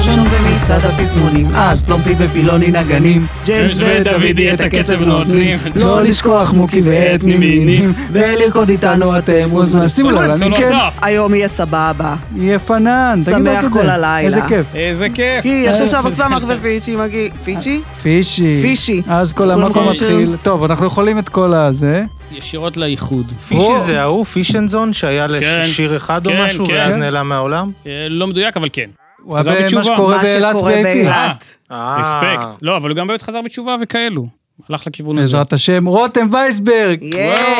במצעד הפזמונים, אז פלומפי ופילוני נגנים, ג'יימס ודוידי את הקצב נותנים, לא לשכוח מוקי ואת נימינים, ולרקוד איתנו אתם מוזמנים. שימו לב, לב, שימו אני כן, נוסף. היום יהיה סבבה. יהיה פנן, תגידו רק את שמח זה. כל הלילה. איזה כיף. איזה אה, כיף. אה, כי עכשיו שהבצמח ופיצ'י מגיע... פיצ'י? פישי. פישי. אז כל המקום מקום מתחיל. מתחיל. טוב, אנחנו יכולים את כל הזה. ישירות לאיחוד. או- פישי זה ההוא, פישנזון, שהיה כן, לשיר אחד או כן, משהו, כן. ואז נעלם מהעולם? אה, לא מדויק, אבל כן. הוא היה חזר במה בתשובה. שקורה מה באילת שקורה VIP. באילת. אה, אה, רספקט. לא, אבל הוא גם באמת חזר בתשובה וכאלו. הלך לכיוון הזה. בעזרת השם, רותם וייסברג. יש,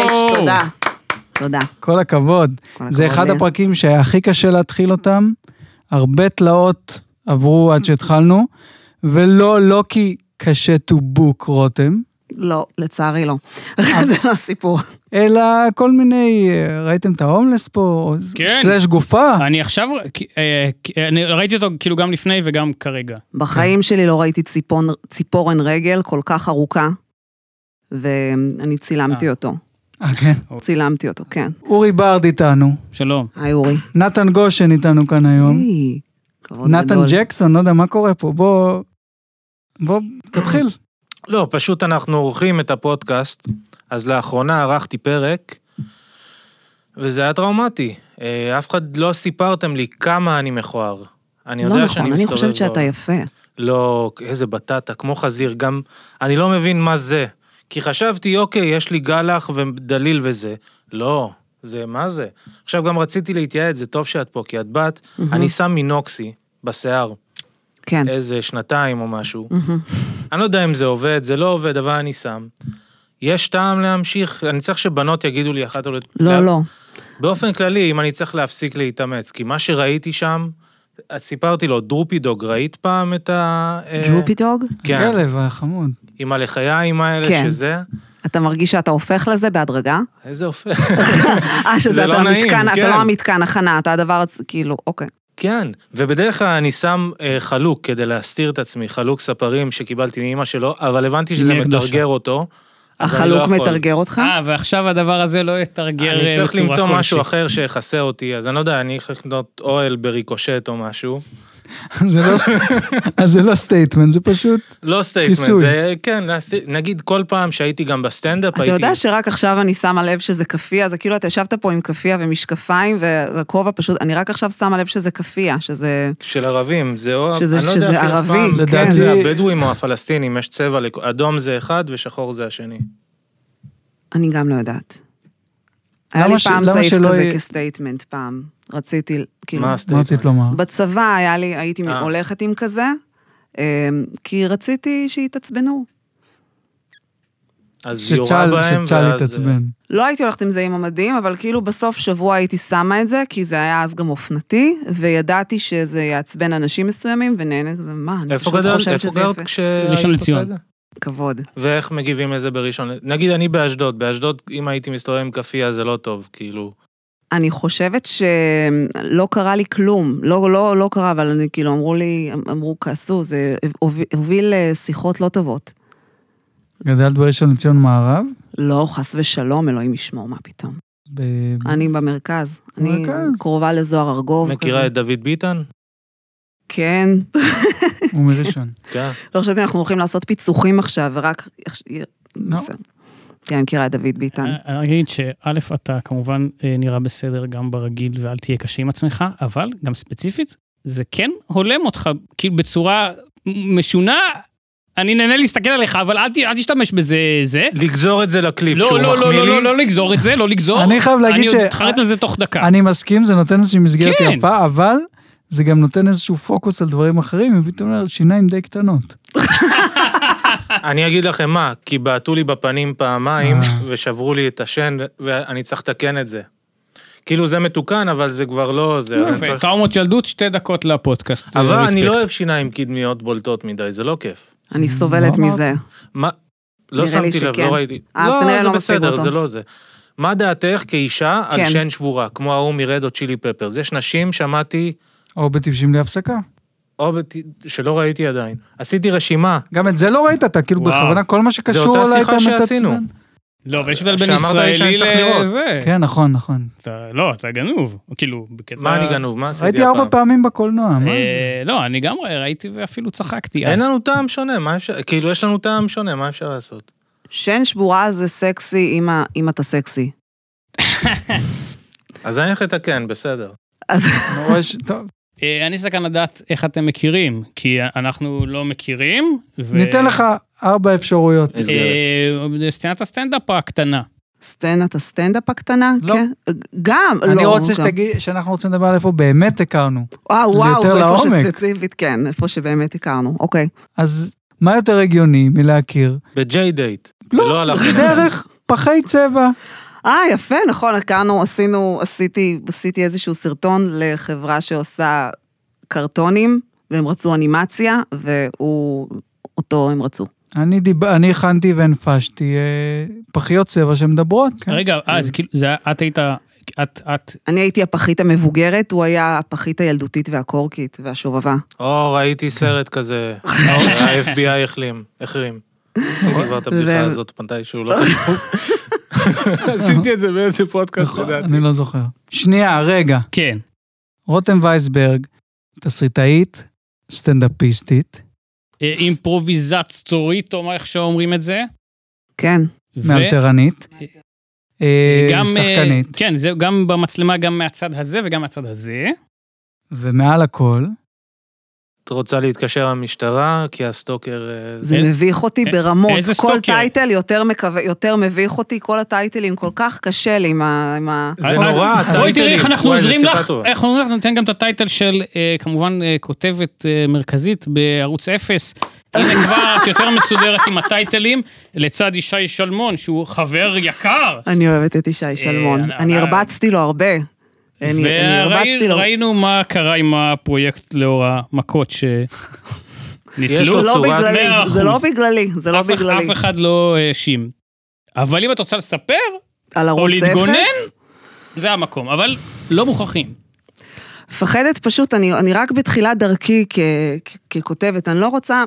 וואו. תודה. תודה. כל הכבוד. כל זה הכבוד אחד לי. הפרקים שהיה הכי קשה להתחיל אותם. הרבה תלאות עברו עד שהתחלנו, ולא, לא כי קשה to book רותם, לא, לצערי לא. זה לא הסיפור. אלא כל מיני, אה, ראיתם את ההומלס פה, או כן. סלש גופה. אני עכשיו, אה, אה, אני ראיתי אותו כאילו גם לפני וגם כרגע. בחיים שלי לא ראיתי ציפון, ציפורן רגל כל כך ארוכה, ואני צילמתי אותו. אה, כן. צילמתי אותו, כן. אורי ברד איתנו, שלום. היי אורי. נתן גושן איתנו כאן היום, היי, כבוד אה. נתן גדול. ג'קסון, לא יודע מה קורה פה, בוא, בוא, תתחיל. לא, פשוט אנחנו עורכים את הפודקאסט, אז לאחרונה ערכתי פרק, וזה היה טראומטי. אה, אף אחד לא סיפרתם לי כמה אני מכוער. אני יודע לא שאני נכון, אני מסתובב חושבת שאתה בעולם. יפה. לא, איזה בטטה, כמו חזיר, גם... אני לא מבין מה זה. כי חשבתי, אוקיי, יש לי גלח ודליל וזה. לא, זה מה זה? עכשיו גם רציתי להתייעץ, זה טוב שאת פה, כי את בת, אני שם מינוקסי בשיער, כן. איזה שנתיים או משהו. אני לא יודע אם זה עובד, זה לא עובד, אבל אני שם. יש טעם להמשיך, אני צריך שבנות יגידו לי אחת או... לא, לא. באופן כללי, אם אני צריך להפסיק להתאמץ, כי מה שראיתי שם, את סיפרתי לו, דרופי דוג, ראית פעם את ה... אה, ג'רופי דוג? כן, כלב החמוד. עם הלחיים האלה כן. שזה. אתה מרגיש שאתה הופך לזה בהדרגה? איזה אופן. אה, זה שזה לא אתה נעים, המתקן, כן. אתה לא המתקן הכנה, אתה הדבר, הצ- כאילו, אוקיי. כן, ובדרך כלל אני שם אה, חלוק כדי להסתיר את עצמי, חלוק ספרים שקיבלתי מאימא שלו, אבל הבנתי שזה מי הקדושה? מתרגר אותו. אז אני לא החלוק יכול. מתרגר אותך? אה, ועכשיו הדבר הזה לא יתרגר אה, בצורה אני כלשהי. צריך למצוא משהו אחר שיכסה אותי, אז אני לא יודע, אני צריך לקנות אוהל בריקושט או משהו. זה לא- אז זה לא סטייטמנט, זה פשוט... לא סטייטמנט, כיסוי. זה כן, להסתיר- נגיד כל פעם שהייתי גם בסטנדאפ, אתה לא הייתי... יודע שרק עכשיו אני שמה לב שזה כאפיה, זה כאילו אתה ישבת פה עם כאפיה ומשקפיים ו- וכובע פשוט, אני רק עכשיו שמה לב שזה כאפיה, שזה... של ערבים, זה או... שזה- אני לא שזה יודע אפילו ערבי, פעם, כן. לדעתי- זה הבדואים או הפלסטינים, יש צבע, לכ- אדום זה אחד ושחור זה השני. אני גם לא יודעת. היה למה לי ש- פעם למה צעיף שלא כזה יהיה- כסטייטמנט פעם. רציתי, כאילו, מה מה הסטייטמנט? רצית לומר? בצבא היה לי, הייתי אה. הולכת עם כזה, אמ, כי רציתי שיתעצבנו. אז יורה שצה"ל בהם, שצה"ל ואז... אה, יתעצבן. לא הייתי הולכת עם זה עם המדים, אבל כאילו בסוף שבוע הייתי שמה את זה, כי זה היה אז גם אופנתי, וידעתי שזה יעצבן אנשים מסוימים, ונהנה כזה, מה, אני איפה פשוט גדלת? חושבת איפה שזה גרת יפה. ראשון כשהיית לציון. עושה את זה? כבוד. ואיך מגיבים לזה בראשון? נגיד אני באשדוד, באשדוד אם הייתי מסתובב עם כאפיה זה לא טוב, כאילו. אני חושבת שלא קרה לי כלום, לא, לא, לא קרה, אבל אני, כאילו אמרו לי, אמרו, כעסו, זה הוביל- הוביל לשיחות לא טובות. גדלת בראשון לציון מערב? לא, חס ושלום, אלוהים ישמור, מה פתאום. ב... אני במרכז. אני במרכז. קרובה לזוהר ארגוב. מכירה כזה. את דוד ביטן? כן. הוא מראשון. כן. לא חשבתי, אנחנו הולכים לעשות פיצוחים עכשיו, ורק... לא. בסדר. כן, אני מכירה את דוד ביטן. אה, כן. אני אגיד שא', אתה כמובן אה, נראה בסדר גם ברגיל, ואל תהיה קשה עם עצמך, אבל גם ספציפית, זה כן הולם אותך, כאילו בצורה משונה. אני נהנה להסתכל עליך, אבל אל ת- אל תשתמש בזה, זה. לגזור את זה לקליפ שהוא לא, לא, מחמיא לא, לי. לא, לא, לא לגזור את זה, לא לגזור. אני חייב להגיד ש- אני עוד אתחרט על זה תוך דקה. אני מסכים, זה נותן איזושהי מסגרת כן. יפה, אבל זה גם נותן איזשהו פוקוס על דברים אחרים, ופתאום אומר, שיניים די קטנות. אני אגיד לכם מה, כי בעטו לי בפנים פעמיים אה. ושברו לי את השן ואני צריך לתקן את זה. כאילו זה מתוקן, אבל זה כבר לא זה. אני יפה, צריך- טראומות ילדות, שתי דקות לפודקאסט. אה, זה אבל אני רספקט. לא אוהב שיניים קדמיות בולטות מדי, זה לא כיף. אני סובלת לא אמרת. מזה. מה? לא נראה לי שמתי לב, שכן. לא ראיתי. אה, אז כנראה זה לא מספיק בסדר, אותו. זה לא זה. מה דעתך כאישה על כן. שן שבורה, כמו ההוא מרד או צ'ילי פפרס? יש נשים, שמעתי, או בטיפשים להפסקה. או בת... שלא ראיתי עדיין. עשיתי רשימה, גם את זה לא ראית, אתה כאילו וואו. בכוונה, כל מה שקשור אותה אליי אתה שיחה שעשינו. מתעצבן. לא, אבל יש הבדל בין שאמרת לי שאני ישראלי צריך לראות. לזה. כן, נכון, נכון. אתה, לא, אתה גנוב. כאילו, בקטע... מה אני גנוב? מה עשיתי ראיתי ארבע פעמים בקולנוע, מה זה? אה, לא, אני גם ראיתי ואפילו צחקתי אין אז. לנו טעם שונה, מה אפשר... כאילו, יש לנו טעם שונה, מה אפשר לעשות? שן שבורה זה סקסי אם ה- אם אתה סקסי. אז אני הולך לתקן, בסדר. אז ממש- טוב, אה, אני סכן לדעת איך אתם מכירים, כי אנחנו לא מכירים. ו- ניתן לך ארבע אפשרויות. נסגרת. אה, סצנת הסטנדאפ הקטנה. סצנת הסטנדאפ הקטנה? לא. כן. גם, לא. אני רוצה גם. שתגיד, שאנחנו רוצים לדבר על איפה באמת הכרנו. אה, וואו, וואו, יותר איפה לעומק. שספציפית, כן, איפה שבאמת הכרנו. אוקיי. אז מה יותר הגיוני מלהכיר? בג'יי דייט. לא, ולא הלך זה לנהל. דרך פחי צבע. אה, יפה, נכון, הכרנו, עשינו, עשיתי, עשיתי איזשהו סרטון לחברה שעושה קרטונים, והם רצו אנימציה, והוא, אותו הם רצו. אני דיב- אני הכנתי והנפשתי אה, פחיות צבע שמדברות. כן. רגע, אה, זה כאילו, זה היה- את היית, את, את, אני הייתי הפחית המבוגרת, הוא היה הפחית הילדותית והקורקית והשובבה. או, ראיתי סרט כזה, ה-FBI החלים, החרים. עשיתי כבר את הבדיחה ו- הזאת מתי שהוא לא חשוב. עשיתי את זה באיזה פודקאסט, נכון, לדעתי. אני לא זוכר. שנייה, רגע. כן. רותם וייסברג, תסריטאית, סטנדאפיסטית, אה, אימפרוביזצורית, או מה איך שאומרים את זה. כן. ו- מאלתרנית, אה, גם, אה, שחקנית, כן, זה גם במצלמה, גם מהצד הזה וגם מהצד הזה. ומעל הכל, את רוצה להתקשר למשטרה, כי הסטוקר... אה, זה איזה- מביך אותי איזה ברמות. כל סטוקר. טייטל יותר מקו- יותר מביך אותי, כל הטייטלים כל כך קשה לי עם ה... עם ה- זה אז- נורא, אז אה, בואי תראי איך הטייטלים. אנחנו וואי, זו עוזרים שיחה לך, טובה. איך אנחנו ניתן גם את הטייטל של אה, כמובן אה, כותבת אה, מרכזית בערוץ 0. הנה כבר את יותר מסודרת עם הטייטלים, לצד ישי שלמון, שהוא חבר יקר. אני אוהבת את ישי שלמון. אה, אני אה, הרבצתי לו הרבה. אני אני הרבצתי לו. וראינו מה קרה עם הפרויקט לאור המכות שניטלו. יש לו זה לא צורת בגללי, מאה זה לא אחוז. בגללי, זה לא אף אחד- בגללי. אף אחד לא האשים. אבל אם את רוצה לספר, על ערוץ אפס. להתגונן? זה המקום, אבל לא מוכרחים. מפחדת פשוט, אני, אני רק בתחילת דרכי כ, כ, ככותבת, אני לא רוצה,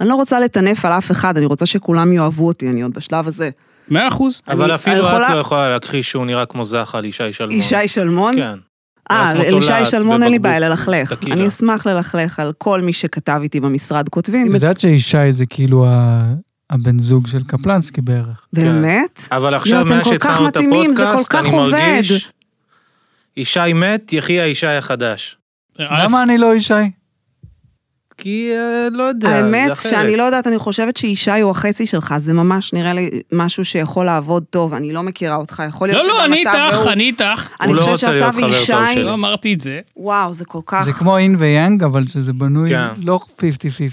אני לא רוצה לטנף על אף אחד, אני רוצה שכולם יאהבו אותי, אני עוד בשלב הזה. מאה אחוז. אבל אני- אפילו יכולה- את לא יכולה להכחיש שהוא נראה כמו זחל, ישי שלמון. ישי שלמון? כן. אה, כמו לישי תולעת שלמון אין לי בעיה בבקבוק ללכלך. טקילה. אני אשמח ללכלך על כל מי שכתב איתי במשרד כותבים. את יודעת שישי זה כאילו ה- הבן זוג של קפלנסקי בערך. כן. באמת? אבל עכשיו, לא, אתם מאז כל כך שהתחלנו את מתאימים, זה כל הפודקאסט, כך אני עובד. מרגיש... ישי מת, יחי הישי החדש. אה, למה אני לא ישי? כי אה, לא יודע, זה האמת אחרת. שאני לא יודעת, אני חושבת שישי הוא החצי שלך, זה ממש נראה לי משהו שיכול לעבוד טוב, אני לא מכירה אותך, יכול לא, להיות לא, שגם אני אתה איתך, והוא- אני איתך. אני הוא לא חושבת רוצה שאתה להיות חבר וישי, טוב שלי. לא אמרתי את זה. וואו, זה כל כך... זה כמו אין ויאנג, אבל שזה בנוי כן. לא 50-50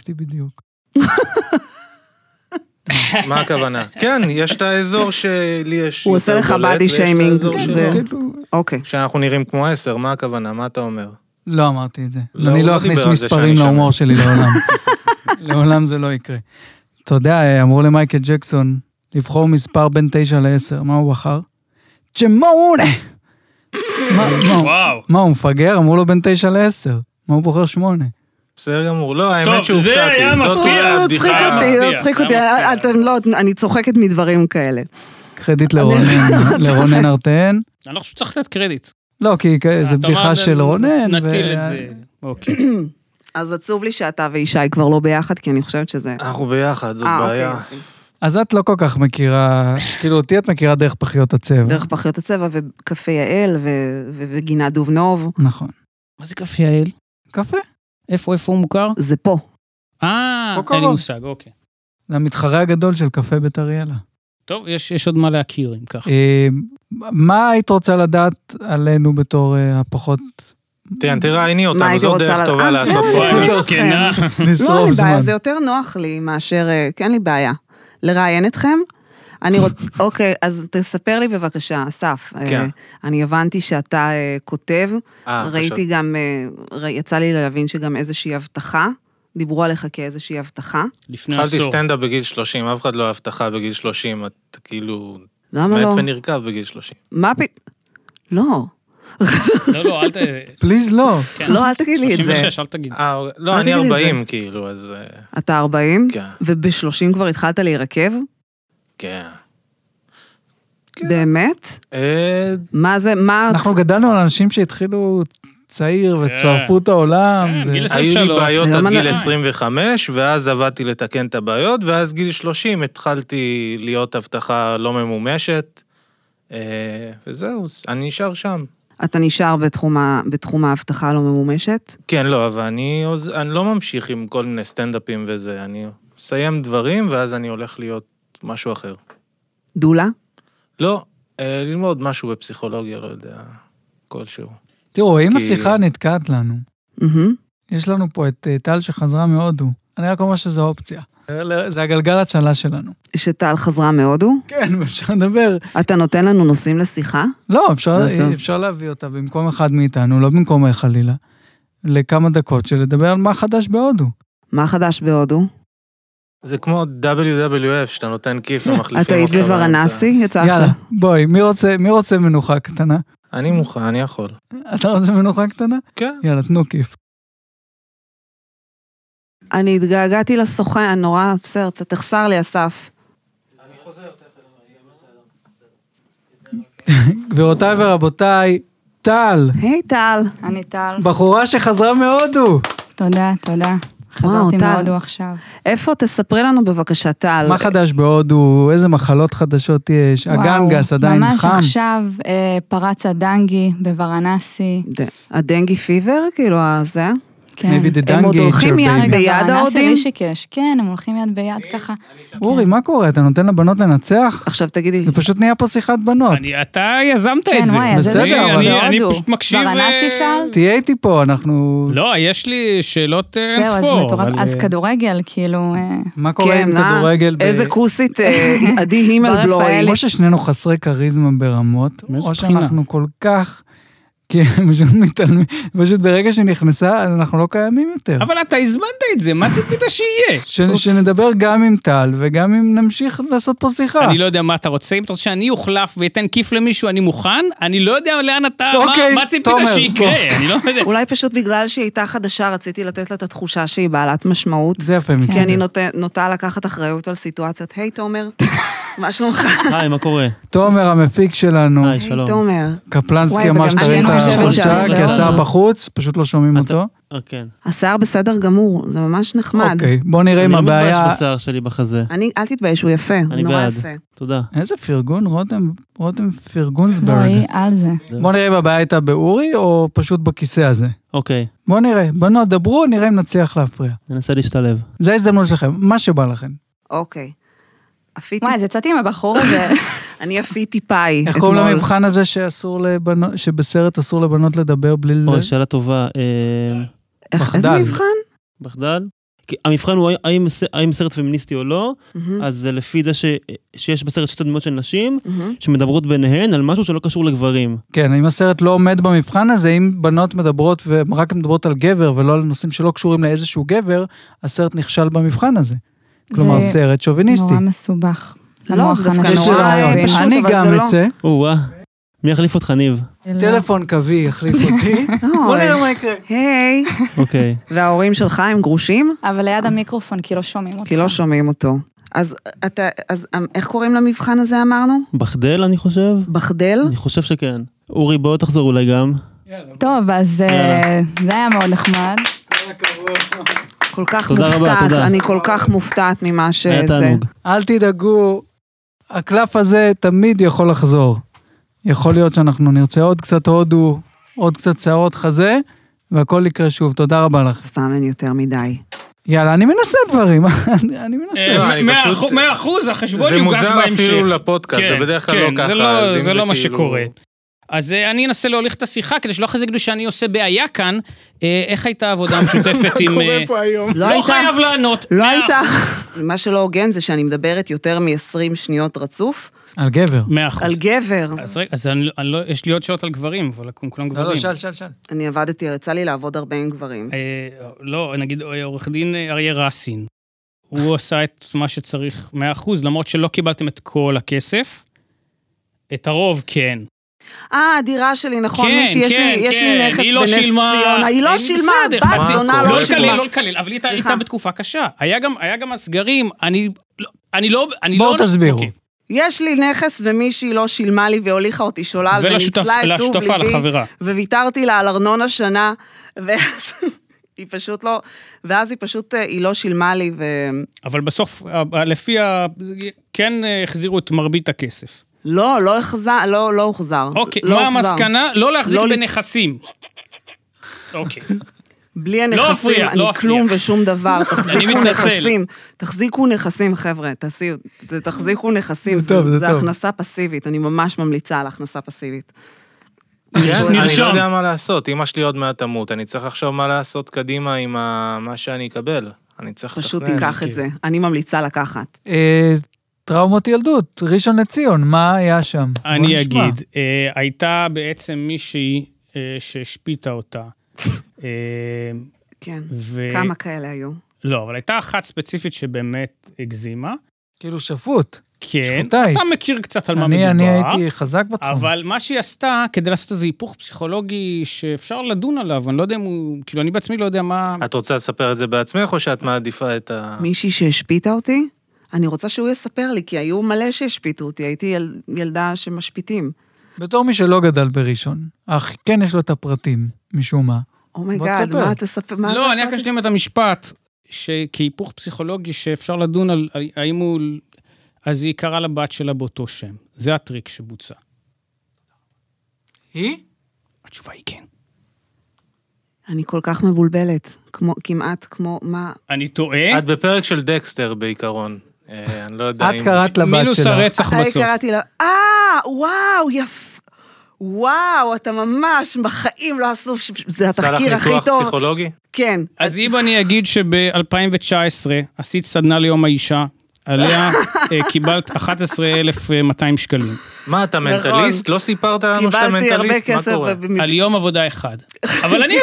בדיוק. מה הכוונה? כן, יש את האזור שלי יש... הוא עושה יותר לך בולט, body ויש את shaming, האזור כן, שלו. זה- כאילו, אוקיי. שאנחנו נראים כמו עשר, מה הכוונה? מה אתה אומר? לא אמרתי את זה. לא, אני הוא לא לא אכניס דיבר על זה מספרים שאני להומור שלי לעולם. לעולם זה לא יקרה. אתה יודע, אמרו למייקל ג'קסון לבחור מספר בין 9 ל-10, מה הוא בחר? צ'מונה! מה- מה הוא- וואו. מה, הוא מפגר? אמרו לו בין 9 ל-10. מה הוא בוחר 8? בסדר גמור. לא, האמת טוב, זה היה שהופתעתי. זאת מפתיע. תהיה לא, הבדיחה. הצחיק אותי, מפתיע, לא, הצחיק זה אותי, היה מפתיע. אתם לא, אני צוחקת מדברים כאלה. קרדיט לרונן- לרונן ארטן. אני לא חושב שצריך לתת קרדיט. לא, כי זו אתה בדיחה אמרת, של רונן. נטיל ו- את זה. אוקיי. אז עצוב לי שאתה וישי כבר לא ביחד, כי אני חושבת שזה... אנחנו ביחד, זאת אה, בעיה. אוקיי, יופי. אז את לא כל כך מכירה, כאילו אותי את מכירה דרך פחיות הצבע. דרך פחיות הצבע וקפה יעל ו- ו- וגינה דובנוב, נכון. מה זה קפה יעל? קפה. איפה, איפה הוא מוכר? זה פה. פה אה, אין לי קרוב. מושג, אוקיי. זה המתחרה הגדול של קפה בית אריאלה. טוב, יש יש עוד מה להכיר אם ככה. אה, מה היית רוצה לדעת עלינו בתור אה, הפחות תראה, תראייני מה אותנו, הייתי זאת רוצה דרך לה- טובה אה, לעשות אה, פרק. וואי, אוקיי. מסכנה. לא, אין נשרוף לי זמן? בעיה, זה יותר נוח לי מאשר... אה, כן, אין לי בעיה. לראיין אתכם? אני רוצ... אוקיי, אז תספר לי בבקשה, אסף. אה, כן. אני הבנתי שאתה אה, כותב, אה, ראיתי גם, אה, ר- יצא לי להבין שגם איזושהי הבטחה, דיברו עליך כאיזושהי הבטחה. לפני התחלתי עשור. סטנדאפ בגיל 30, אף אחד לא אהב הבטחה בגיל 30, את כאילו... למה מת לא? ונרקב בגיל 30. מה פ... לא. לא, לא, אל ת... פליז לא. כן. לא, אל תגיד לי את זה. 36, אל תגיד. אה, אוקיי. מה לא, אני תגיד לי את 40 כאילו, אז... אה, אתה 40, כן. וב-30 כבר התחלת להירקב? כן. כן. באמת? אה, מה זה, מה... אנחנו גדלנו על אנשים שהתחילו צעיר וצרפו את העולם. כן, זה- גיל עשרים. היו לי 23. בעיות היום עד אני- גיל 25, ואז עבדתי לתקן את הבעיות, ואז גיל 30 התחלתי להיות הבטחה לא ממומשת, אה, וזהו, אני נשאר שם. אתה נשאר בתחום ה- בתחום האבטחה הלא ממומשת? כן, לא, אבל אני, עוז- אני לא ממשיך עם כל מיני סטנדאפים וזה, אני מסיים דברים, ואז אני הולך להיות משהו אחר. דולה? לא, אה, ללמוד משהו בפסיכולוגיה, לא יודע, כלשהו. תראו, אם כי- השיחה נתקעת לנו, מהמם. יש לנו פה את אה, טל שחזרה מהודו. אני רק אומר שזו אופציה. זה הגלגל הצלה שלנו. שטל חזרה מהודו? כן, אפשר לדבר. אתה נותן לנו נושאים לשיחה? לא, אפשר, לעשות. אפשר להביא אותה במקום אחד מאיתנו, לא במקום חלילה, לכמה דקות של לדבר על מה חדש בהודו. מה חדש בהודו? זה כמו WWF, שאתה נותן כיף ומחליפים את היית אותך באמצע. בוורנסי? יצא יאללה, אחלה. בואי, מי רוצה, מי רוצה מנוחה קטנה? אני מוכן, אני יכול. אתה רוצה מנוחה קטנה? כן. יאללה, תנו כיף. אני התגעגעתי לסוכן, נורא, בסדר, ת- תחסר לי, אסף. גבירותיי ורבותיי, טל, היי, טל. אני טל. בחורה שחזרה מהודו. תודה, תודה. חזרתי טל. מהודו עכשיו. איפה? תספרי לנו בבקשה, טל. מה חדש בהודו? איזה מחלות חדשות יש? הגנגס וואו, עדיין ממש חם? ממש עכשיו אה, פרץ הדנגי בוורנסי. ד- הדנגי פיבר? כאילו, הזה? כן. Maybe the הם עוד dengue הולכים itcher, יד baby. ביד בוורנסי ההודים? רישיקש. כן, הם הולכים יד ביד ככה. אורי, מה קורה? אתה נותן לבנות לנצח? עכשיו תגידי, זה פשוט נהיה פה שיחת בנות. אני, אתה יזמת כן, את זה. וואי, אז לא בסדר, איזה אבל- כיף, אני, אני בהודו. פשוט מקשיב... וורנסי אה, שאלת? תהיה איתי פה, אנחנו... לא, יש לי שאלות אה, אין זהו, אז ספור. מטורף. אבל, אז אה, כדורגל, כאילו... אה, מה קורה עם אה? כדורגל? ב- איזה כוסית, אה, עדי בר הימלבלוי. רפאלי. או ששנינו חסרי כריזמה ברמות, לא, מאיזה או בחינה? שאנחנו כל כך... כן, פשוט מתעלמים. פשוט ברגע שנכנסה, אז אנחנו לא קיימים יותר. אבל אתה הזמנת את זה, מה ציפית שיהיה? ש- שנדבר גם עם טל, וגם אם נמשיך לעשות פה שיחה. אני לא יודע מה אתה רוצה, אם אתה רוצה שאני אוחלף ואתן כיף למישהו, אני מוכן, אני לא יודע לאן אתה, מה- אוקיי, מה ציפית תומר, שיקרה, אני לא יודע. אולי פשוט בגלל שהיא הייתה חדשה, רציתי לתת לה את התחושה שהיא בעלת משמעות. זה יפה מצדך. כי כן, אני לא- נות- נוטה לקחת אחריות על סיטואציות. היי, תומר, מה שלומך? היי, מה קורה? תומר המפיק שלנו, היי, היי, שלום. תומר. קפלנסקי וואי, אמר וגם שתראה אני את חושבת החולצה, שהשיער- כי השיער בחוץ, פשוט לא שומעים אותו. אה, כן. השיער בסדר גמור, זה ממש נחמד. אוקיי, בוא נראה אני אם לא מתבייש הבעיה... בשיער שלי בחזה. אני, אל תתבייש, הוא יפה, הוא אני נורא בעד. יפה. תודה. איזה פרגון, רותם, רותם לא, פרגונסברד. היא על זה. בוא נראה אם הבעיה הייתה באורי, או פשוט בכיסא הזה. אוקיי, בוא נראה, בנות, דברו, נראה אם נצליח להפריע. ננסה להשתלב. זה ההזדמנות שלכם, מה שבא לכם. אוקיי. אפיתי, וואי, אז יצאתי עם הבחור הזה. אני אפיתי פאי איך אתמול. קוראים למבחן הזה שאסור לבנות, שבסרט אסור לבנות לדבר בלי... ל- אוי, אוקיי, שאלה טובה. אה, איך- איזה מחדל. מבחן? מחדל? כי המבחן הוא האם- האם סרט פמיניסטי או לא, מהמם, אז זה לפי זה ש- שיש בסרט שתי דמויות של נשים מהמם. שמדברות ביניהן על משהו שלא קשור לגברים. כן, אם הסרט לא עומד במבחן הזה, אם בנות מדברות ורק מדברות על גבר ולא על נושאים שלא קשורים לאיזשהו גבר, הסרט נכשל במבחן הזה. כלומר, זה סרט שוביניסטי. נורא מסובך. לא, זה למוח דווקא יש לי הנורא רעיון. מבין. פשוט, אני אבל גם זה לא- אצא, או-אה. מי יחליף אותך, ניב? טלפון קווי יחליף אותי. בוא נראה מה יקרה. היי. אוקיי. וההורים שלך הם גרושים? אבל ליד המיקרופון, כי לא שומעים אותך. כי לא שומעים אותו. אז אתה, אז אמ, איך קוראים למבחן הזה אמרנו? בחדל, אני חושב? בחדל? אני חושב שכן. אורי, בוא תחזור אולי גם. טוב, אז אה, זה היה מאוד נחמד. כל כך תודה רבה, מופתעת, תודה. אני כל כך מופתעת ממה היה שזה. תענוג. אל תדאגו, הקלף הזה תמיד יכול לחזור. יכול להיות שאנחנו נרצה עוד קצת הודו, עוד קצת שערות חזה, והכל יקרה שוב. תודה רבה לך. אף פעם אין יותר מדי. יאללה, אני מנסה דברים, אני- אני מנסה. לא, אה, אני מאה פשוט- אחוז- מאה אחוז, החשבון זה יוגש בהמשך. מוזר אפילו לפודקאסט, זה כן, בדרך כלל כן, לא ככה. זה אז לא, אם זה לא מה כאילו- שקורה. אז אה, אני אנסה להוליך את השיחה, כדי שלא אחרי זה יגידו שאני עושה בעיה כאן. אה, איך הייתה העבודה המשותפת עם... אה, היום? לא לא הייתה, חייב לענות. לא מאה הייתה. מה שלא הוגן זה שאני מדברת יותר מ-20 שניות רצוף על גבר. מאה אחוז. על גבר. אז רגע, אז אני, אני לא, יש לי עוד שעות על גברים, אבל הם כולם לא, גברים. לא, שאל, שאל. אני עבדתי, יצא לי לעבוד הרבה עם גברים. אה, לא, נגיד אה, עורך דין אה, אריה רסין. הוא עשה את מה שצריך 100%, למרות שלא קיבלתם את כל הכסף. את הרוב כן. אה, הדירה שלי, נכון, כן, מישהי, יש כן, לי- יש לי כן, נכס היא לא בנס שילמה, אה, ציונה. היא לא שילמה, בסדר, בת חצי- זונה מה לא לא קורה? לקלל, שילמה. לא לקלל, אבל היא הייתה- היא סליחה. הייתה בתקופה קשה. היה גם, היה גם הסגרים, אני, לא- אני לא, אני לא... בואו תסבירו. אוקיי. יש לי נכס ומישהי לא שילמה לי והוליכה אותי שולל ולשותף- וניצלה את טוב לשותפה, ליבי, לחברה. וויתרתי לה על ארנונה שנה, ואז היא פשוט לא, ואז היא פשוט, אה, היא לא שילמה לי, ולא, אבל בסוף, אה, לפי ה... כן אה, החזירו את מרבית הכסף. לא החזר, לא, לא הוחזר. אוקיי, לא מה הוחזר. המסקנה? לא להחזיק לא לי- בנכסים. אוקיי. בלי לא הנכסים, אפריע, אני לא אפריע. כלום ושום דבר, אני תחזיקו מתנצל. נכסים. תחזיקו נכסים, חבר'ה, תעשו, ת- תחזיקו נכסים, זה טוב, זה- זה זה טוב. הכנסה פסיבית, אני ממש ממליצה על הכנסה פסיבית. כן, אני לא נרשום. יודע מה לעשות, אמא שלי עוד מעט תמות, אני צריך לחשוב מה לעשות קדימה עם ה- מה שאני אקבל. אני צריך פשוט לתכנן. תיקח כן. את זה, אני ממליצה לקחת. אה, טראומות ילדות, ראשון לציון, מה היה שם? בוא אני נשמע. אגיד, אה, הייתה בעצם מישהי אה, שהשפיטה אותה. אה, כן. ו... כמה כאלה היו? לא, אבל הייתה אחת ספציפית שבאמת הגזימה. כאילו שפוט. כן. שפוטאית. אתה מכיר קצת על מה מדובר. אני, אני הייתי חזק בתחום. אבל מה שהיא עשתה, כדי לעשות איזה היפוך פסיכולוגי שאפשר לדון עליו, אני לא יודע אם הוא... כאילו, אני בעצמי לא יודע מה... את רוצה לספר את זה בעצמך, או שאת מעדיפה את ה... מישהי שהשפיטה אותי? אני רוצה שהוא יספר לי, כי היו מלא שהשפיטו אותי, הייתי יל... ילדה שמשפיטים. בתור מי שלא גדל בראשון, אך כן יש לו את הפרטים, משום מה. בוא אומייגאד, תספר. Oh מה תספר? מה לא, זה אני רק אתה- אשלים את המשפט, שכהיפוך פסיכולוגי שאפשר לדון על על- האם הוא... אז היא קראה לבת שלה באותו שם. זה הטריק שבוצע. היא? התשובה היא כן. אני כל כך מבולבלת, כמו, כמעט כמו, מה... אני טועה, את בפרק של דקסטר בעיקרון. אה, אני לא יודע את קראת לבת מינוס שלך. הרצח אחרי בסוף. קראתי לה, אה, וואו, יפ... וואו, אתה ממש בחיים לא עשו, ש- זה התחקיר הכי סלח ניתוח טוב. פסיכולוגי? כן. אז אם אני אגיד שב-2019 עשית סדנה ליום האישה, עליה אה, קיבלת 11,200 שקלים. מה, אתה מנטליסט? לא סיפרת לנו שאתה נכון. קיבלתי הרבה מנטליסט? מה כסף, קורה? ובמ- על יום עבודה אחד. אבל אני,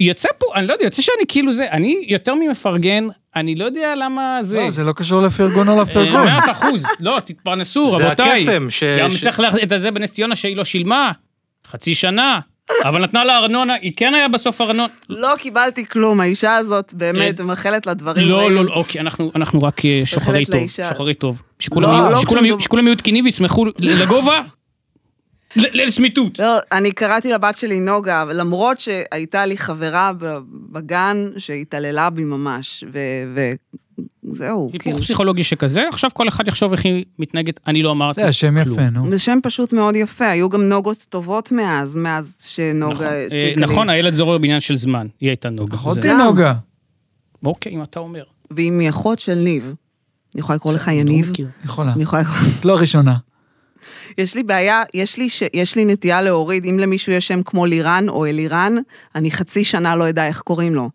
יוצא פה, אני לא יודע, יוצא שאני כאילו זה, אני יותר ממפרגן, אני לא יודע למה זה. לא, זה לא קשור לפרגון על הפרגון. אה, 100 אחוז, לא, תתפרנסו, זה רבותיי. הקסם ש- גם ש- צריך להחזיר את זה בנס ציונה שהיא לא שילמה, חצי שנה, אבל נתנה לה ארנונה, היא כן היה בסוף ארנונה. לא קיבלתי כלום, האישה הזאת באמת אה, מאחלת לה דברים לא, רעים. לא, לא, אוקיי, אנחנו אנחנו רק אה, שוחרי בהחלט טוב, לאישה. שוחרי טוב. שכולם לא, יהיו- לא, שכולם שום יהיו- דבר. שכולם יהיו תקינים וישמחו לגובה, ל- לצמיתות. לא, אני קראתי לבת שלי נוגה, אבל למרות שהייתה לי חברה ב- בגן שהתעללה בי ממש, וזהו, היפוך כאילו. פסיכולוגי שכזה, עכשיו כל אחד יחשוב איך היא מתנהגת, אני לא אמרתי. זה השם כלום. יפה, נו. זה שם פשוט מאוד יפה, היו גם נוגות טובות מאז, מאז נכון, שנוגה אה, הציקה לי. נכון, הילד זורר בעניין של זמן, היא הייתה נוגה. זה- אחותי גם. נוגה. אוקיי, אם אתה אומר. והיא מאחות של ניב. אני יכולה לקרוא לך לא יניב? מכיר. יכולה. אני יכולה לקרוא... את לא ראשונה. יש לי בעיה, יש לי, ש... יש לי נטייה להוריד, אם למישהו יש שם כמו לירן או אלירן, אני חצי שנה לא אדע איך קוראים לו.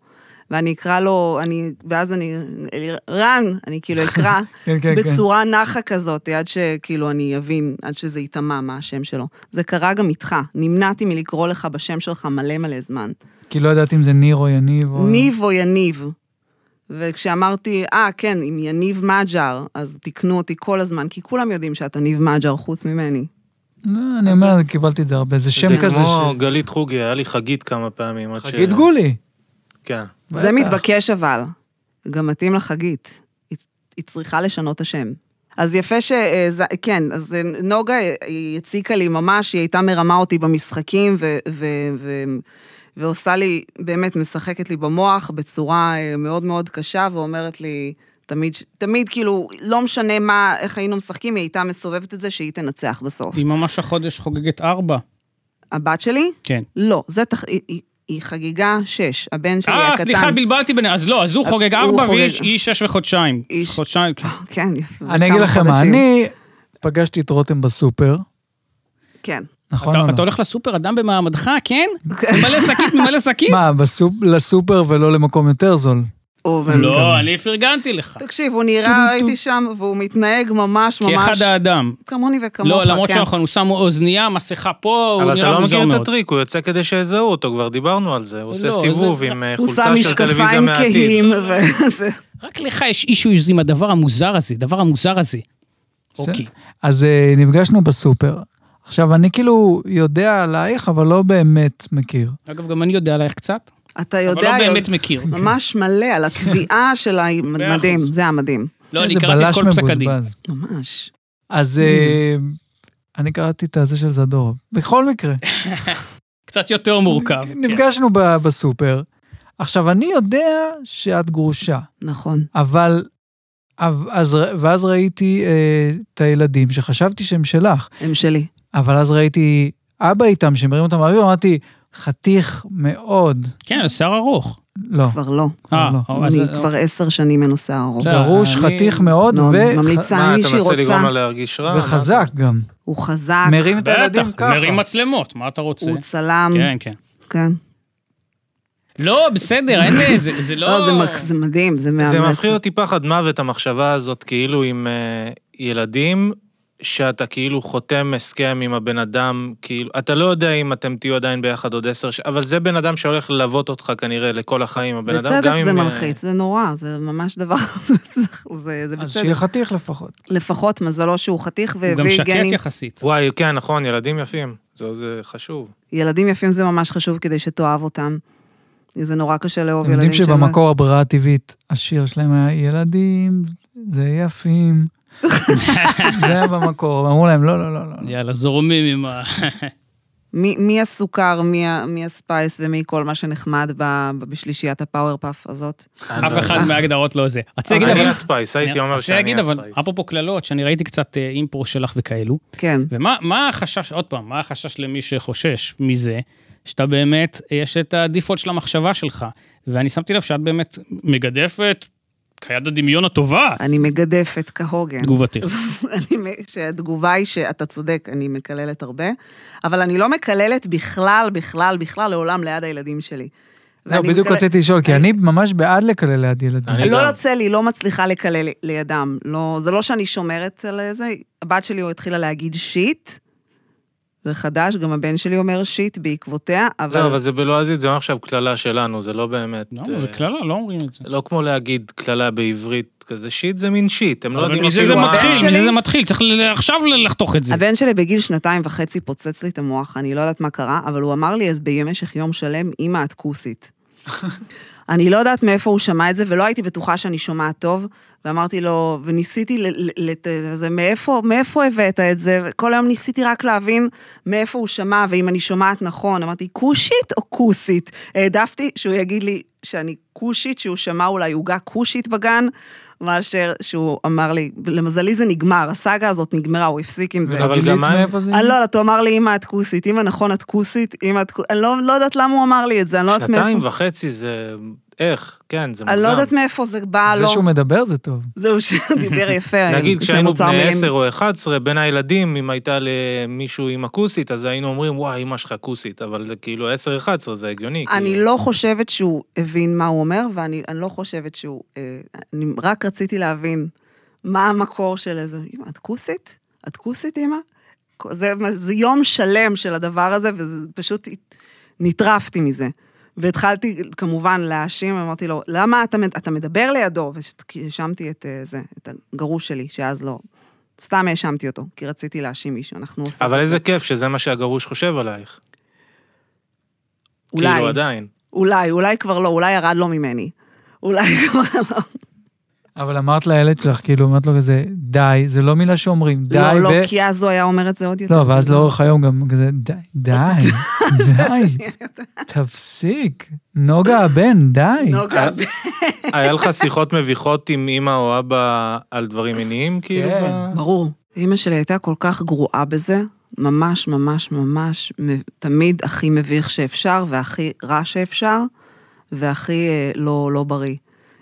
ואני אקרא לו, אני, ואז אני, אלירן, אני כאילו אקרא, כן, כן, כן. בצורה נחה כזאת, עד שכאילו אני אבין, עד שזה ייטמע מה השם שלו. זה קרה גם איתך, נמנעתי מלקרוא לך בשם שלך מלא מלא זמן. כי לא ידעתי אם זה ניר או יניב או... ניב או יניב. וכשאמרתי, אה, כן, עם יניב מג'אר, אז תיקנו אותי כל הזמן, כי כולם יודעים שאתה ניב מג'אר חוץ ממני. לא, אני אומר, קיבלתי את זה הרבה. זה שם זה כזה כמו ש... גלית חוגי, היה לי חגית כמה פעמים. עד ש- חגית גולי. כן. זה בטח. מתבקש אבל. גם מתאים לחגית. היא- היא צריכה לשנות את השם. אז יפה ש... אה, ז- כן, אז אה, נוגה, אה, היא הציקה לי ממש, היא הייתה מרמה אותי במשחקים, ו... ו, ו ועושה לי, באמת משחקת לי במוח בצורה אה, מאוד מאוד קשה, ואומרת לי, תמיד, תמיד כאילו, לא משנה מה, איך היינו משחקים, היא הייתה מסובבת את זה שהיא תנצח בסוף. היא ממש החודש חוגגת ארבע. הבת שלי? כן. לא, זה תח... היא, היא, היא חגיגה שש, הבן שלי אה, הקטן. סליחה, בלבלתי ביניהם. אז לא, אז הוא חוגג הוא ארבע חוגג- והיא שש וחודשיים. איש- חודשיים, כן. כן, יפה. אני אגיד כמה לכם מה, חודשים. אני פגשתי את רותם בסופר, כן. נכון או אתה לא? אתה הולך לסופר, אדם במעמדך, כן? ממלא שקית, ממלא שקית? מה, בסופ- לסופר ולא למקום יותר זול. הוא לא, אני פרגנתי לך. תקשיב, הוא נראה, הייתי שם, והוא מתנהג ממש כאחד ממש האדם. כמוני וכמוך. לא, למרות כן. שאנחנו, הוא שם אוזנייה, מסכה פה, הוא אבל אתה נראה לא מוזר מכיר את מאוד. הטריק, הוא יוצא כדי שיזהו אותו, כבר דיברנו על זה. הוא עושה לא, סיבוב זה- עם אה, הוא שם חולצה של טלוויזיה משקפיים מהעתיד. כהים, וזה... רק לך יש אישויז עם הדבר המוזר הזה, הדבר המוזר הזה. אוקיי. אז אה, נפגשנו בסופר. עכשיו, אני כאילו יודע עלייך, אבל לא באמת מכיר. אגב, גם אני יודע עלייך קצת, אתה אבל יודע, אה, לא באמת יודע- מכיר. ממש מלא, על התביעה של המדהים, אחוז. זה המדהים. לא, אני איזה קראתי את בלש כל פסק הדין. מבוזבז. ממש. אז אה, אני קראתי את הזה של זדורוב. בכל מקרה, כן. קצת יותר מורכב. נפגשנו ב- בסופר. עכשיו, אני יודע שאת גרושה, נכון. אבל... אב- אז, ר- ואז ראיתי אה, את הילדים שחשבתי שהם שלך, הם שלי. אבל אז ראיתי אבא איתם שמרים אותם באוויר, אמרתי, חתיך מאוד. כן, זה שיער ארוך. לא, כבר לא. אה, לא. או, אז- אני כבר עשר שנים מנוסה ארוך. בסדר. דרוש אני- חתיך מאוד נו, ו- ממליצה מה, מי אתה מנסה לגרום שרוצה. לה להרגיש רע? וחזק גם. הוא חזק, מרים את הילדים בטח, ככה. מרים מצלמות, מה אתה רוצה? הוא צלם. כן, כן. כן. לא, בסדר, אין, זה זה לא... לא, זה מק- זה מדהים, זה מה? מהמם. זה מפחיד אותי פחד מוות, המחשבה הזאת, כאילו עם אה, ילדים, שאתה כאילו חותם הסכם עם הבן אדם, כאילו, אתה לא יודע אם אתם תהיו עדיין ביחד עוד עשר, ש- אבל זה בן אדם שהולך ללוות אותך כנראה לכל החיים, הבן אדם, בצדק גם אם... זה אה, מלחיץ, זה נורא, זה ממש דבר... זה זה אז בצדק. שיהיה חתיך לפחות. לפחות מזלו שהוא חתיך הוא גם והביא שקט גנים. יחסית. וואי, כן, נכון, ילדים יפים. זה, זה חשוב. ילדים יפים זה ממש חשוב כדי שתאהב אותם. זה נורא קשה לאהוב אתם ילדים יודעים שהם- שבמקור הברירה הטבעית, השיר שלהם היה ילדים, זה יפים. זה היה במקור, אמרו להם, לא, לא, לא, לא. יאללה, זורמים עם ה... מי מי הסוכר, מי ה- מי הספייס ומי כל מה שנחמד ב- ב- בשלישיית הפאוור פאף הזאת. אף אחד מההגדרות לא זה. רציתי להגיד, אני אבל... הספייס, הייתי אומר רציתי שאני להגיד, אבל הספייס. אפרופו קללות, שאני ראיתי קצת אה, אימפרו שלך וכאלו, כן. ומה מה החשש, עוד פעם, מה החשש למי שחושש מזה, שאתה באמת, אה, יש את הדיפולט של המחשבה שלך, ואני שמתי לב שאת באמת מגדפת כיד הדמיון הטובה, אני מגדפת כהוגן. תגובתך. אני מ- שהתגובה היא שאתה צודק, אני מקללת הרבה, אבל אני לא מקללת בכלל, בכלל, בכלל, לעולם ליד הילדים שלי. זהו, ואני בדיוק מקלל- רציתי לשאול, כי אני ממש בעד לקלל ליד ילדים. אני- לא גם. יוצא לי, לא מצליחה לקלל לידם. לא, זה לא שאני שומרת על זה. הבת שלי התחילה להגיד שיט, זה חדש, גם הבן שלי אומר שיט בעקבותיה, אבל... לא, אבל זה בלועזית, זה עכשיו קללה שלנו, זה לא באמת... לא, זה אה, קללה, לא אומרים את זה. לא כמו להגיד קללה בעברית כזה, שיט זה מין שיט, הם לא אבל יודעים מזה זה אפילו הבן מתחיל, ה- שלי- מזה זה מתחיל, צריך ל- עכשיו ל- לחתוך את זה. הבן שלי בגיל שנתיים וחצי פוצץ לי את המוח, אני לא יודעת מה קרה, אבל הוא אמר לי אז במשך יום שלם, אמא את כוסית. אני לא יודעת מאיפה הוא שמע את זה, ולא הייתי בטוחה שאני שומעת טוב, ואמרתי לו, וניסיתי, ל- ל- לת- זה, מאיפה, מאיפה הבאת את זה? כל היום ניסיתי רק להבין מאיפה הוא שמע, ואם אני שומעת נכון, אמרתי, כושית או כוסית? העדפתי שהוא יגיד לי שאני כושית, שהוא שמע אולי עוגה כושית בגן, מאשר שהוא אמר לי, למזלי זה נגמר, הסאגה הזאת נגמרה, הוא הפסיק עם זה. אבל גילית גם מה- מאיפה זה? אני לא יודעת, הוא אמר לי, אמא, את כוסית. אמא, נכון, את כוסית? אמא, את כוסית. אני לא לא יודעת למה הוא אמר לי את זה, אני לא יודעת שנתיים מאיפה... וחצי זה... איך? כן, זה מוגזם. אני לא יודעת מאיפה זה בא, זה לא. שהוא מדבר זה טוב. זהו, שדיבר יפה. נגיד, יש כשהיינו למוצר בני מילים. 10 או 11, בין הילדים, אם הייתה למישהו עם הכוסית, אז היינו אומרים, וואי, אמא שלך כוסית, אבל זה כאילו 10-11 זה הגיוני. אני כאילו. לא חושבת שהוא הבין מה הוא אומר, ואני אני לא חושבת שהוא... אה, אני רק רציתי להבין מה המקור של זה. אמא, את כוסית? את כוסית, אמא? זה, זה יום שלם של הדבר הזה, ופשוט נטרפתי מזה. והתחלתי כמובן להאשים, אמרתי לו, למה אתה, מד- אתה מדבר לידו? והאשמתי את אה, זה, את הגרוש שלי, שאז לא... סתם האשמתי אותו, כי רציתי להאשים מישהו, אנחנו עושים... אבל את איזה זה. כיף שזה מה שהגרוש חושב עלייך. אולי. כאילו, עדיין. אולי, אולי כבר לא, אולי ירד לו ממני. אולי כבר לא. אבל אמרת לילד שלך, כאילו, אמרת לו כזה, די, זה לא מילה שאומרים, די. לא, ו- לא, כי אז הוא היה אומר את זה עוד יותר. לא, ואז זה לאורך היום גם כזה, די, די, די, תפסיק. נוגה הבן, די. נוגה. היה לך שיחות מביכות עם אמא או אבא על דברים מיניים, כאילו? כן. ב- ברור. אימא שלי הייתה כל כך גרועה בזה, ממש, ממש, ממש, מ- תמיד הכי מביך שאפשר, והכי רע שאפשר, והכי אה, לא, לא בריא.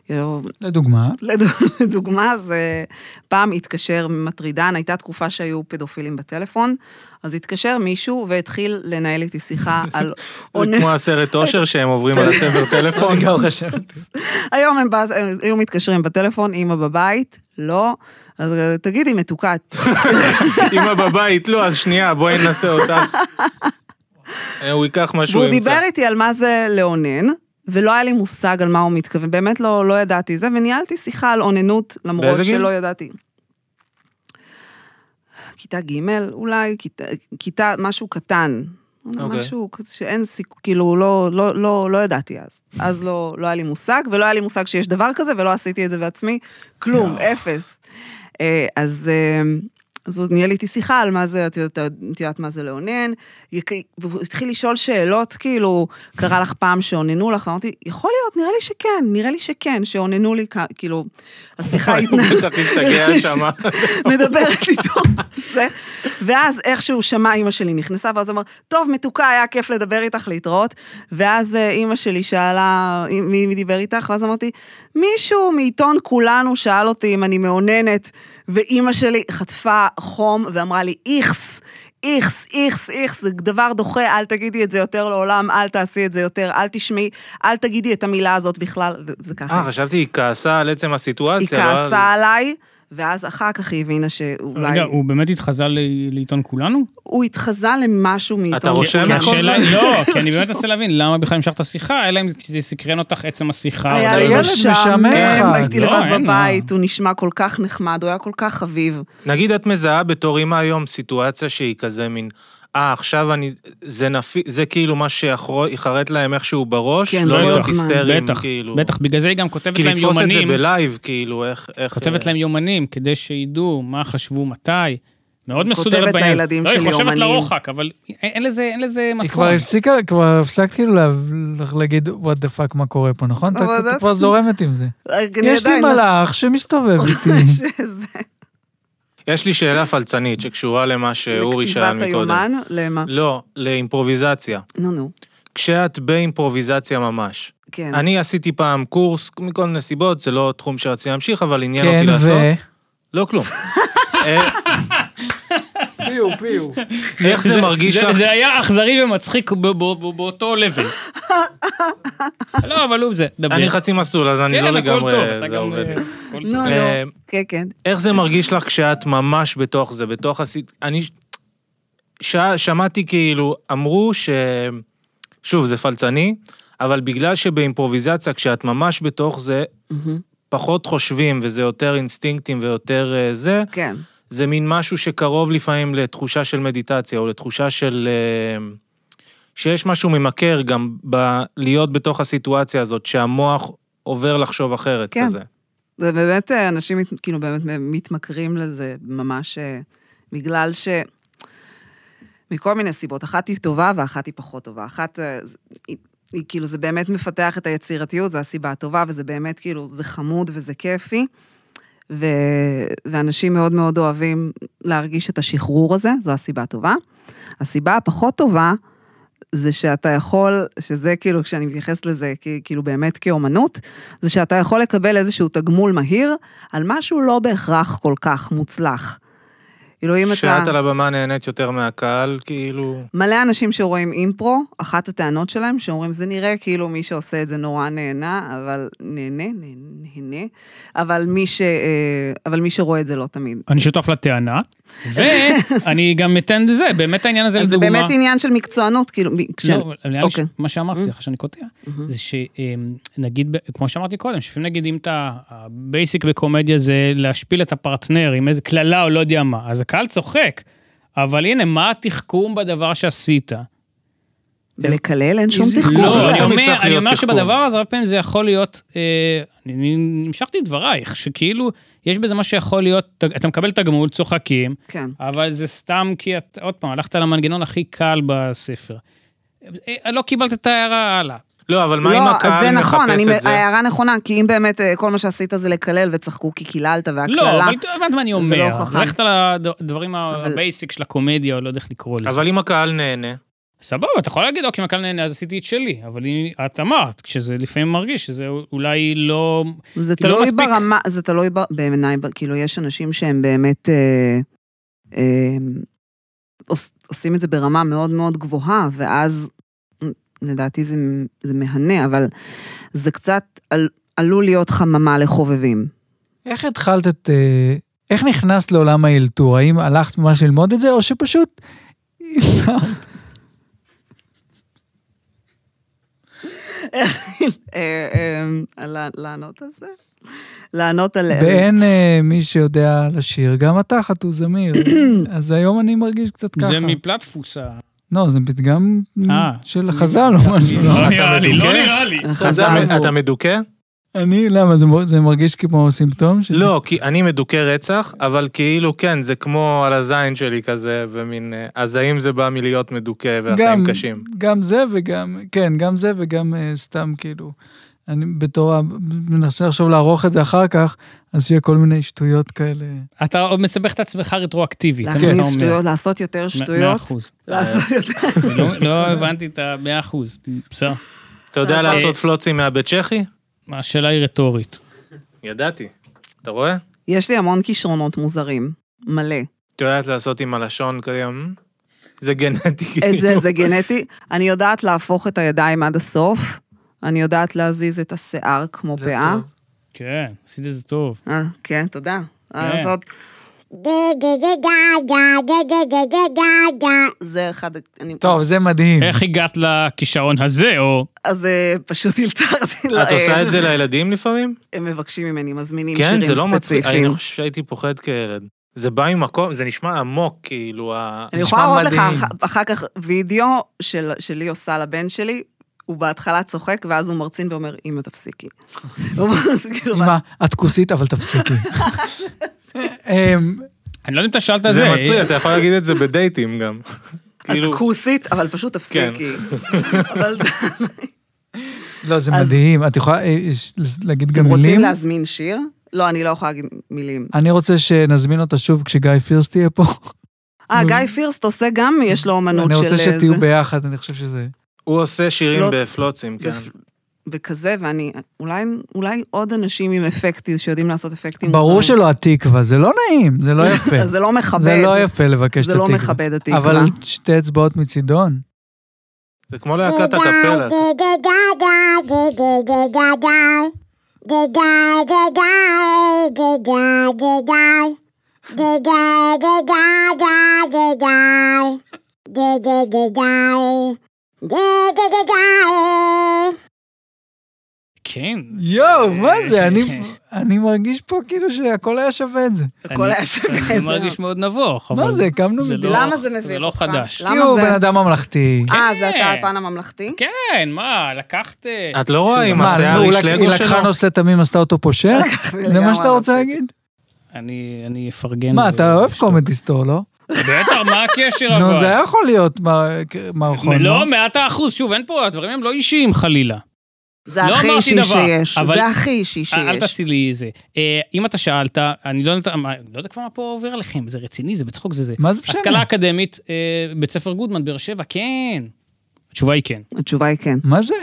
כאילו, לדוגמה, לד- לדוגמה, זה פעם התקשר מטרידן, הייתה תקופה שהיו פדופילים בטלפון, אז התקשר מישהו והתחיל לנהל איתי שיחה על זה כמו הסרט אושר שהם עוברים על הסבר טלפון. גם חשבת. היום הם באז, היו מתקשרים בטלפון, אימא בבית, לא. אז אה, תגידי, מתוקה, את- אמא בבית, לא, אז שנייה, בואי ננסה אותך. אה, הוא ייקח מה שהוא והוא ימצא. דיבר איתי על מה זה לאונן, ולא היה לי מושג על מה הוא מתכוון, באמת לא, לא ידעתי זה, וניהלתי שיחה על אוננות, למרות באיזה גיל? שלא ידעתי. כיתה ג' אולי, כיתה, כיתה משהו קטן. אוקיי. משהו שאין סיכוי, כאילו, לא, לא, לא, לא ידעתי אז. אז לא, לא היה לי מושג, ולא היה לי מושג שיש דבר כזה, ולא עשיתי את זה בעצמי. כלום, אפס. אה, אז אה, אז הוא ניהל איתי שיחה על מה זה, את יודעת, את יודעת מה זה לאונן, יק- והוא התחיל לשאול שאלות, כאילו, קרה לך פעם שאוננו לך, אמרתי, יכול להיות, נראה לי שכן, נראה לי שכן, שאוננו לי, כ- כאילו, השיחה התנהלה. בטח השתגע שמה. מדברת איתו על זה. ואז איכשהו שמע אימא שלי נכנסה, ואז הוא אמר, טוב, מתוקה, היה כיף לדבר איתך, להתראות. ואז אה, אימא שלי שאלה, "מי- מי דיבר איתך? ואז אמרתי, מישהו מעיתון כולנו שאל אותי אם אני מאוננת, ואימא שלי חטפה חום ואמרה לי, איכס. איכס, איכס, איכס, זה דבר דוחה, אל תגידי את זה יותר לעולם, אל תעשי את זה יותר, אל תשמעי, אל תגידי את המילה הזאת בכלל, זה- זה ככה. אה, חשבתי היא כעסה על עצם היא הסיטואציה. לא על- כעסה עליי, ואז אחר כך היא הבינה שאולי... רגע, הוא באמת התחזה ל- לעיתון כולנו? הוא התחזה למשהו מעיתון. אתה רושם? כי כן, השאלה היא, לא, כי אני באמת מנסה להבין, למה בכלל המשכת את השיחה, אלא אם זה סקרן אותך עצם השיחה. היה או לא לי דברים. ילד משעמם, משעמם. הייתי לא, לבד אין, בבית, הוא נשמע כל כך נחמד, הוא היה כל כך חביב. נגיד את מזהה בתור אימא היום סיטואציה שהיא כזה מין, אה, עכשיו אני, זה נפי, זה כאילו מה שיחרט להם איכשהו בראש, כן, לא בטח, להיות בטח, היסטריים, בטח, כאילו. בטח, בגלל זה היא גם כותבת כי להם לתפוס את זה יומנים, בלייב, כאילו, איך... איך- כותבת להם יומנים, כדי שידעו מה חשבו, מתי. מאוד היא מסודרת כותבת בעניין. לילדים לא, היא שלי חושבת יומנים. לרוחק, אבל אין- אין לזה- אין לזה היא כבר נכון. מתכון. הפסיקה, כבר הפסקת כאילו לה- לך להגיד, what the fuck, מה קורה פה, נכון? אתה- אבל אתה זה- כבר זורמת עם זה. אני יש לי עדיין לא- מלאך שמסתובב איתי. שזה- יש לי שאלה פלצנית שקשורה למה שאורי אה, שאל לכתיבת מקודם. היומן, למה? לא, לאימפרוביזציה. נו, נו, כשאת באימפרוביזציה ממש. כן. אני עשיתי פעם קורס, מכל מיני סיבות, זה לא תחום שרציתי להמשיך, אבל עניין כן, אותי לעשות. ו... לא כלום. אה, פיו, פיו. איך זה מרגיש זה- לך? זה היה אכזרי ומצחיק ב- ב- ב- באותו לבל. לא, אבל הוא זה, דבר. אני חצי מסלול, אז אני כן, הכל לא לגמרי... טוב, אתה זה גם, עובד. אה, הכל נו, נו, טוב. אה, כן, כן. איך זה מרגיש לך כשאת ממש בתוך זה, בתוך הסיט... אני... ש... שמעתי כאילו, אמרו ש... שוב, זה פלצני, אבל בגלל שבאימפרוביזציה, כשאת ממש בתוך זה, פחות חושבים, וזה יותר אינסטינקטים ויותר אה, זה, כן. זה מין משהו שקרוב לפעמים לתחושה של מדיטציה, או לתחושה של... אה, שיש משהו ממכר גם ב... להיות בתוך הסיטואציה הזאת, שהמוח עובר לחשוב אחרת כן. כזה. זה באמת, אה, אנשים מת- כאילו באמת מתמכרים לזה, ממש אה, בגלל ש... מכל מיני סיבות. אחת היא טובה ואחת היא פחות טובה. אחת, אה, ז- היא, היא כאילו, זה באמת מפתח את היצירתיות, זו הסיבה הטובה, וזה באמת כאילו, זה חמוד וזה כיפי. ו... ואנשים מאוד מאוד אוהבים להרגיש את השחרור הזה, זו הסיבה הטובה. הסיבה הפחות טובה זה שאתה יכול, שזה כאילו, כשאני מתייחסת לזה כ- כאילו באמת כאומנות, זה שאתה יכול לקבל איזשהו תגמול מהיר על משהו לא בהכרח כל כך מוצלח. כאילו אם אתה... שאת על הבמה נהנית יותר מהקהל, כאילו... מלא אנשים שרואים אימפרו, אחת הטענות שלהם, שאומרים, זה נראה כאילו מי שעושה את זה נורא נהנה, אבל נהנה, נהנה, נהנה, אבל מי, ש, אה, אבל מי שרואה את זה לא תמיד. אני שותף לטענה, ואני גם אתן זה, באמת העניין הזה אז זה לדוגמה. באמת עניין של מקצוענות, כאילו, מי- כש... לא, אבל נראה לי אוקיי. שמה שאמרתי, סליחה שאני קוטע, זה שנגיד, כמו שאמרתי קודם, שלפעמים נגיד אם אתה, הבייסיק בקומדיה זה להשפיל את הפרטנר עם איזה קללה או לא יודע מה, אז הקהל צוחק, אבל הנה, מה התחכום בדבר שעשית? בלקלל אין שום איזי- תחכום. לא, זה לא, אני תמיד אומר, צריך אני להיות אומר תחכום. שבדבר הזה הרבה פעמים זה יכול להיות, אה, אני- אני המשכתי את דברייך, שכאילו, יש בזה מה שיכול להיות, אתה מקבל תגמול, צוחקים, כן. אבל זה סתם כי, את, עוד פעם, הלכת למנגנון הכי קל בספר. אה, לא קיבלת את ההערה הלאה. לא, אבל מה לא, אם אז זה הקהל נכון, אני- מחפש את זה? ההערה נכונה, כי אם באמת אה, כל מה שעשית זה לקלל וצחקו כי קיללת והקללה. לא, אבל אתה הבנת מה אני זה לא אומר. חכם. ללכת על הדברים אבל- הבייסיק של הקומדיה, או לא יודע איך לקרוא לזה. אבל אם הקהל נהנה, סבבה, אתה יכול להגיד, אוקיי, מכאן נהנה, אז עשיתי את שלי. אבל היא- את אמרת, כשזה לפעמים מרגיש שזה אולי לא... זה כאילו, לא תלוי מספיק. ברמה, זה תלוי ב- בעיניי, ב- כאילו, יש אנשים שהם באמת אה, אה, עוש- עושים את זה ברמה מאוד מאוד גבוהה, ואז מ, לדעתי זה, זה מהנה, אבל זה קצת על, עלול להיות חממה לחובבים. איך התחלת את... אה, איך נכנסת לעולם האלתור? האם הלכת ממש ללמוד את זה, או שפשוט... אה, אה, לה- לענות על זה? לענות על... ואין אה, מי שיודע לשיר, גם אתה חתו זמיר. אז היום אני מרגיש קצת ככה. זה מפלטפוס ה... לא, זה פתגם אה. של חז"ל או משהו. לא נראה לי, לא מדוכא? נראה לי. חז"ל. אתה מדוכא? אני, למה, זה מ- זה מרגיש כמו סימפטום? של- לא, כי אני מדוכא רצח, אבל כאילו כן, זה כמו על הזין שלי כזה, ומין... אה, אז האם זה בא מלהיות מדוכא והחיים קשים? גם זה וגם, כן, גם זה וגם אה, סתם כאילו, אני בתור, ה- מנסה עכשיו לערוך את זה אחר כך, אז שיהיה כל מיני שטויות כאלה. אתה עוד מסבך את עצמך רטרואקטיבית, זה מה שאתה להכניס אומר. שטויות, לעשות יותר מ- כן. מאה שטויות. אחוז. לעשות יותר... לא- לא הבנתי את המאה אחוז. בסדר. אתה יודע אז- לעשות פלוצים מהבית צ'כי? השאלה היא רטורית. ידעתי. אתה רואה? יש לי המון כישרונות מוזרים, מלא. את יודעת לעשות עם הלשון קיים? זה גנטי, כאילו. את זה, זה גנטי. אני יודעת להפוך את הידיים עד הסוף, אני יודעת להזיז את השיער כמו פאה. כן, עשית את זה טוב. אה, כן, תודה. אה, כן. זאת- זה אחד... אני- טוב, זה מדהים. איך הגעת לכישרון הזה, או... אז אה, פשוט הלתרתי להם. את עושה את זה לילדים לפעמים? הם מבקשים ממני, מזמינים כן, זה שירים לא מצחיק. ספציפיים. אני חושב שהייתי פוחד כילד. זה בא ממקום, זה נשמע עמוק, כאילו, ה... אני נשמע יכולה להראות לך מדהים. אח- אחר כך וידאו של- שלי עושה לבן שלי, הוא בהתחלה צוחק, ואז הוא מרצין ואומר, אמא תפסיקי. הוא אומר, זה כאילו, אמא, את כוסית, אבל תפסיקי. אמ, אני לא יודע אם אתה שאלת את זה זה. מצחיק, אתה יכול להגיד את זה בדייטים גם. כאילו, כן. את כוסית, אבל פשוט תפסיקי. אבל לא, זה אז- מדהים. את יכולה אה, יש- להגיד גם אתם רוצים מילים? להזמין שיר? לא, אני לא יכולה להגיד מילים. אני רוצה שנזמין אותה שוב כשגיא פירס תהיה פה. אה, גיא פירסט עושה גם, יש לו אומנות אני של... אה, רוצה שתהיו זה. ביחד, אני חושב שזה... הוא עושה שירים פלוץ. בפלוצים, כן. בפ- וכזה, ואני, אולי, אולי עוד אנשים עם אפקטים, שיודעים לעשות אפקטים. ברור מוזרים. שלא התקווה, זה לא נעים, זה לא יפה. זה לא מכבד. זה לא יפה לבקש את זה לא התקווה. מכבד התקווה. אבל שתי אצבעות מצידון. זה כמו להקת הקפלה. כן. יואו, מה זה? אני- אני מרגיש פה כאילו שהכל היה שווה את זה. הכל אני- היה שווה. אני מרגיש מאוד נבוך, אבל... מה זה, הקמנו זה מדינה. לא- למה זה זה מביך לא אותך? חדש. למה תהיו זה- בן אדם ממלכתי. אה, כן. זה אתה הפן הממלכתי? כן, מה, לקחת... אה, את לא רואה עם מה, אז השיער הוא איש לק- היא לגו לקחה שלו? נושא תמים, עשתה אותו פושע? זה מה שאתה רוצה להגיד? אני אני אפרגן. מה, ו- אתה אוהב ואשתוק. קומדיסטור, לא? בטח, מה הקשר אבל? נו, זה היה יכול להיות מר- מערכון, לא, לא? מעט האחוז. שוב, אין פה, הדברים הם לא אישיים חלילה. זה לא הכי אמרתי אישי דבר, שיש. אבל- זה הכי אישי שיש. אל תעשי לי זה. אה, אם אתה שאלת, אני לא יודע מה- לא יודע כבר מה פה עובר עליכם, זה רציני, זה בצחוק, זה זה. מה זה משנה? השכלה אקדמית, אה, בית ספר גודמן, באר שבע, כן. התשובה היא כן. התשובה היא כן. מה זה?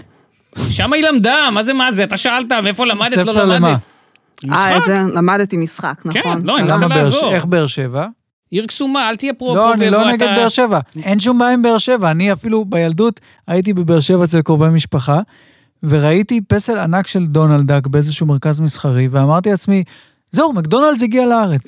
שם היא למדה, מה זה מה זה? אתה שאלת, מאיפה למדת, ספר לא למה? למדת. אה, את משחק, זה למדתי משחק, כן, נכון. לא, אני למה? מנסה למה באר ש- לעזור. איך באר שבע? עיר קסומה, אל תהיה פרו לא, פרו אני ואלו, לא אתה- נגד באר שבע. אין שום בעיה עם באר שבע. אני אפילו בילדות הייתי בבאר שבע אצל קרובי משפחה, וראיתי פסל ענק של דונלדק באיזשהו מרכז מסחרי, ואמרתי לעצמי, זהו, מקדונלדס הגיע לארץ.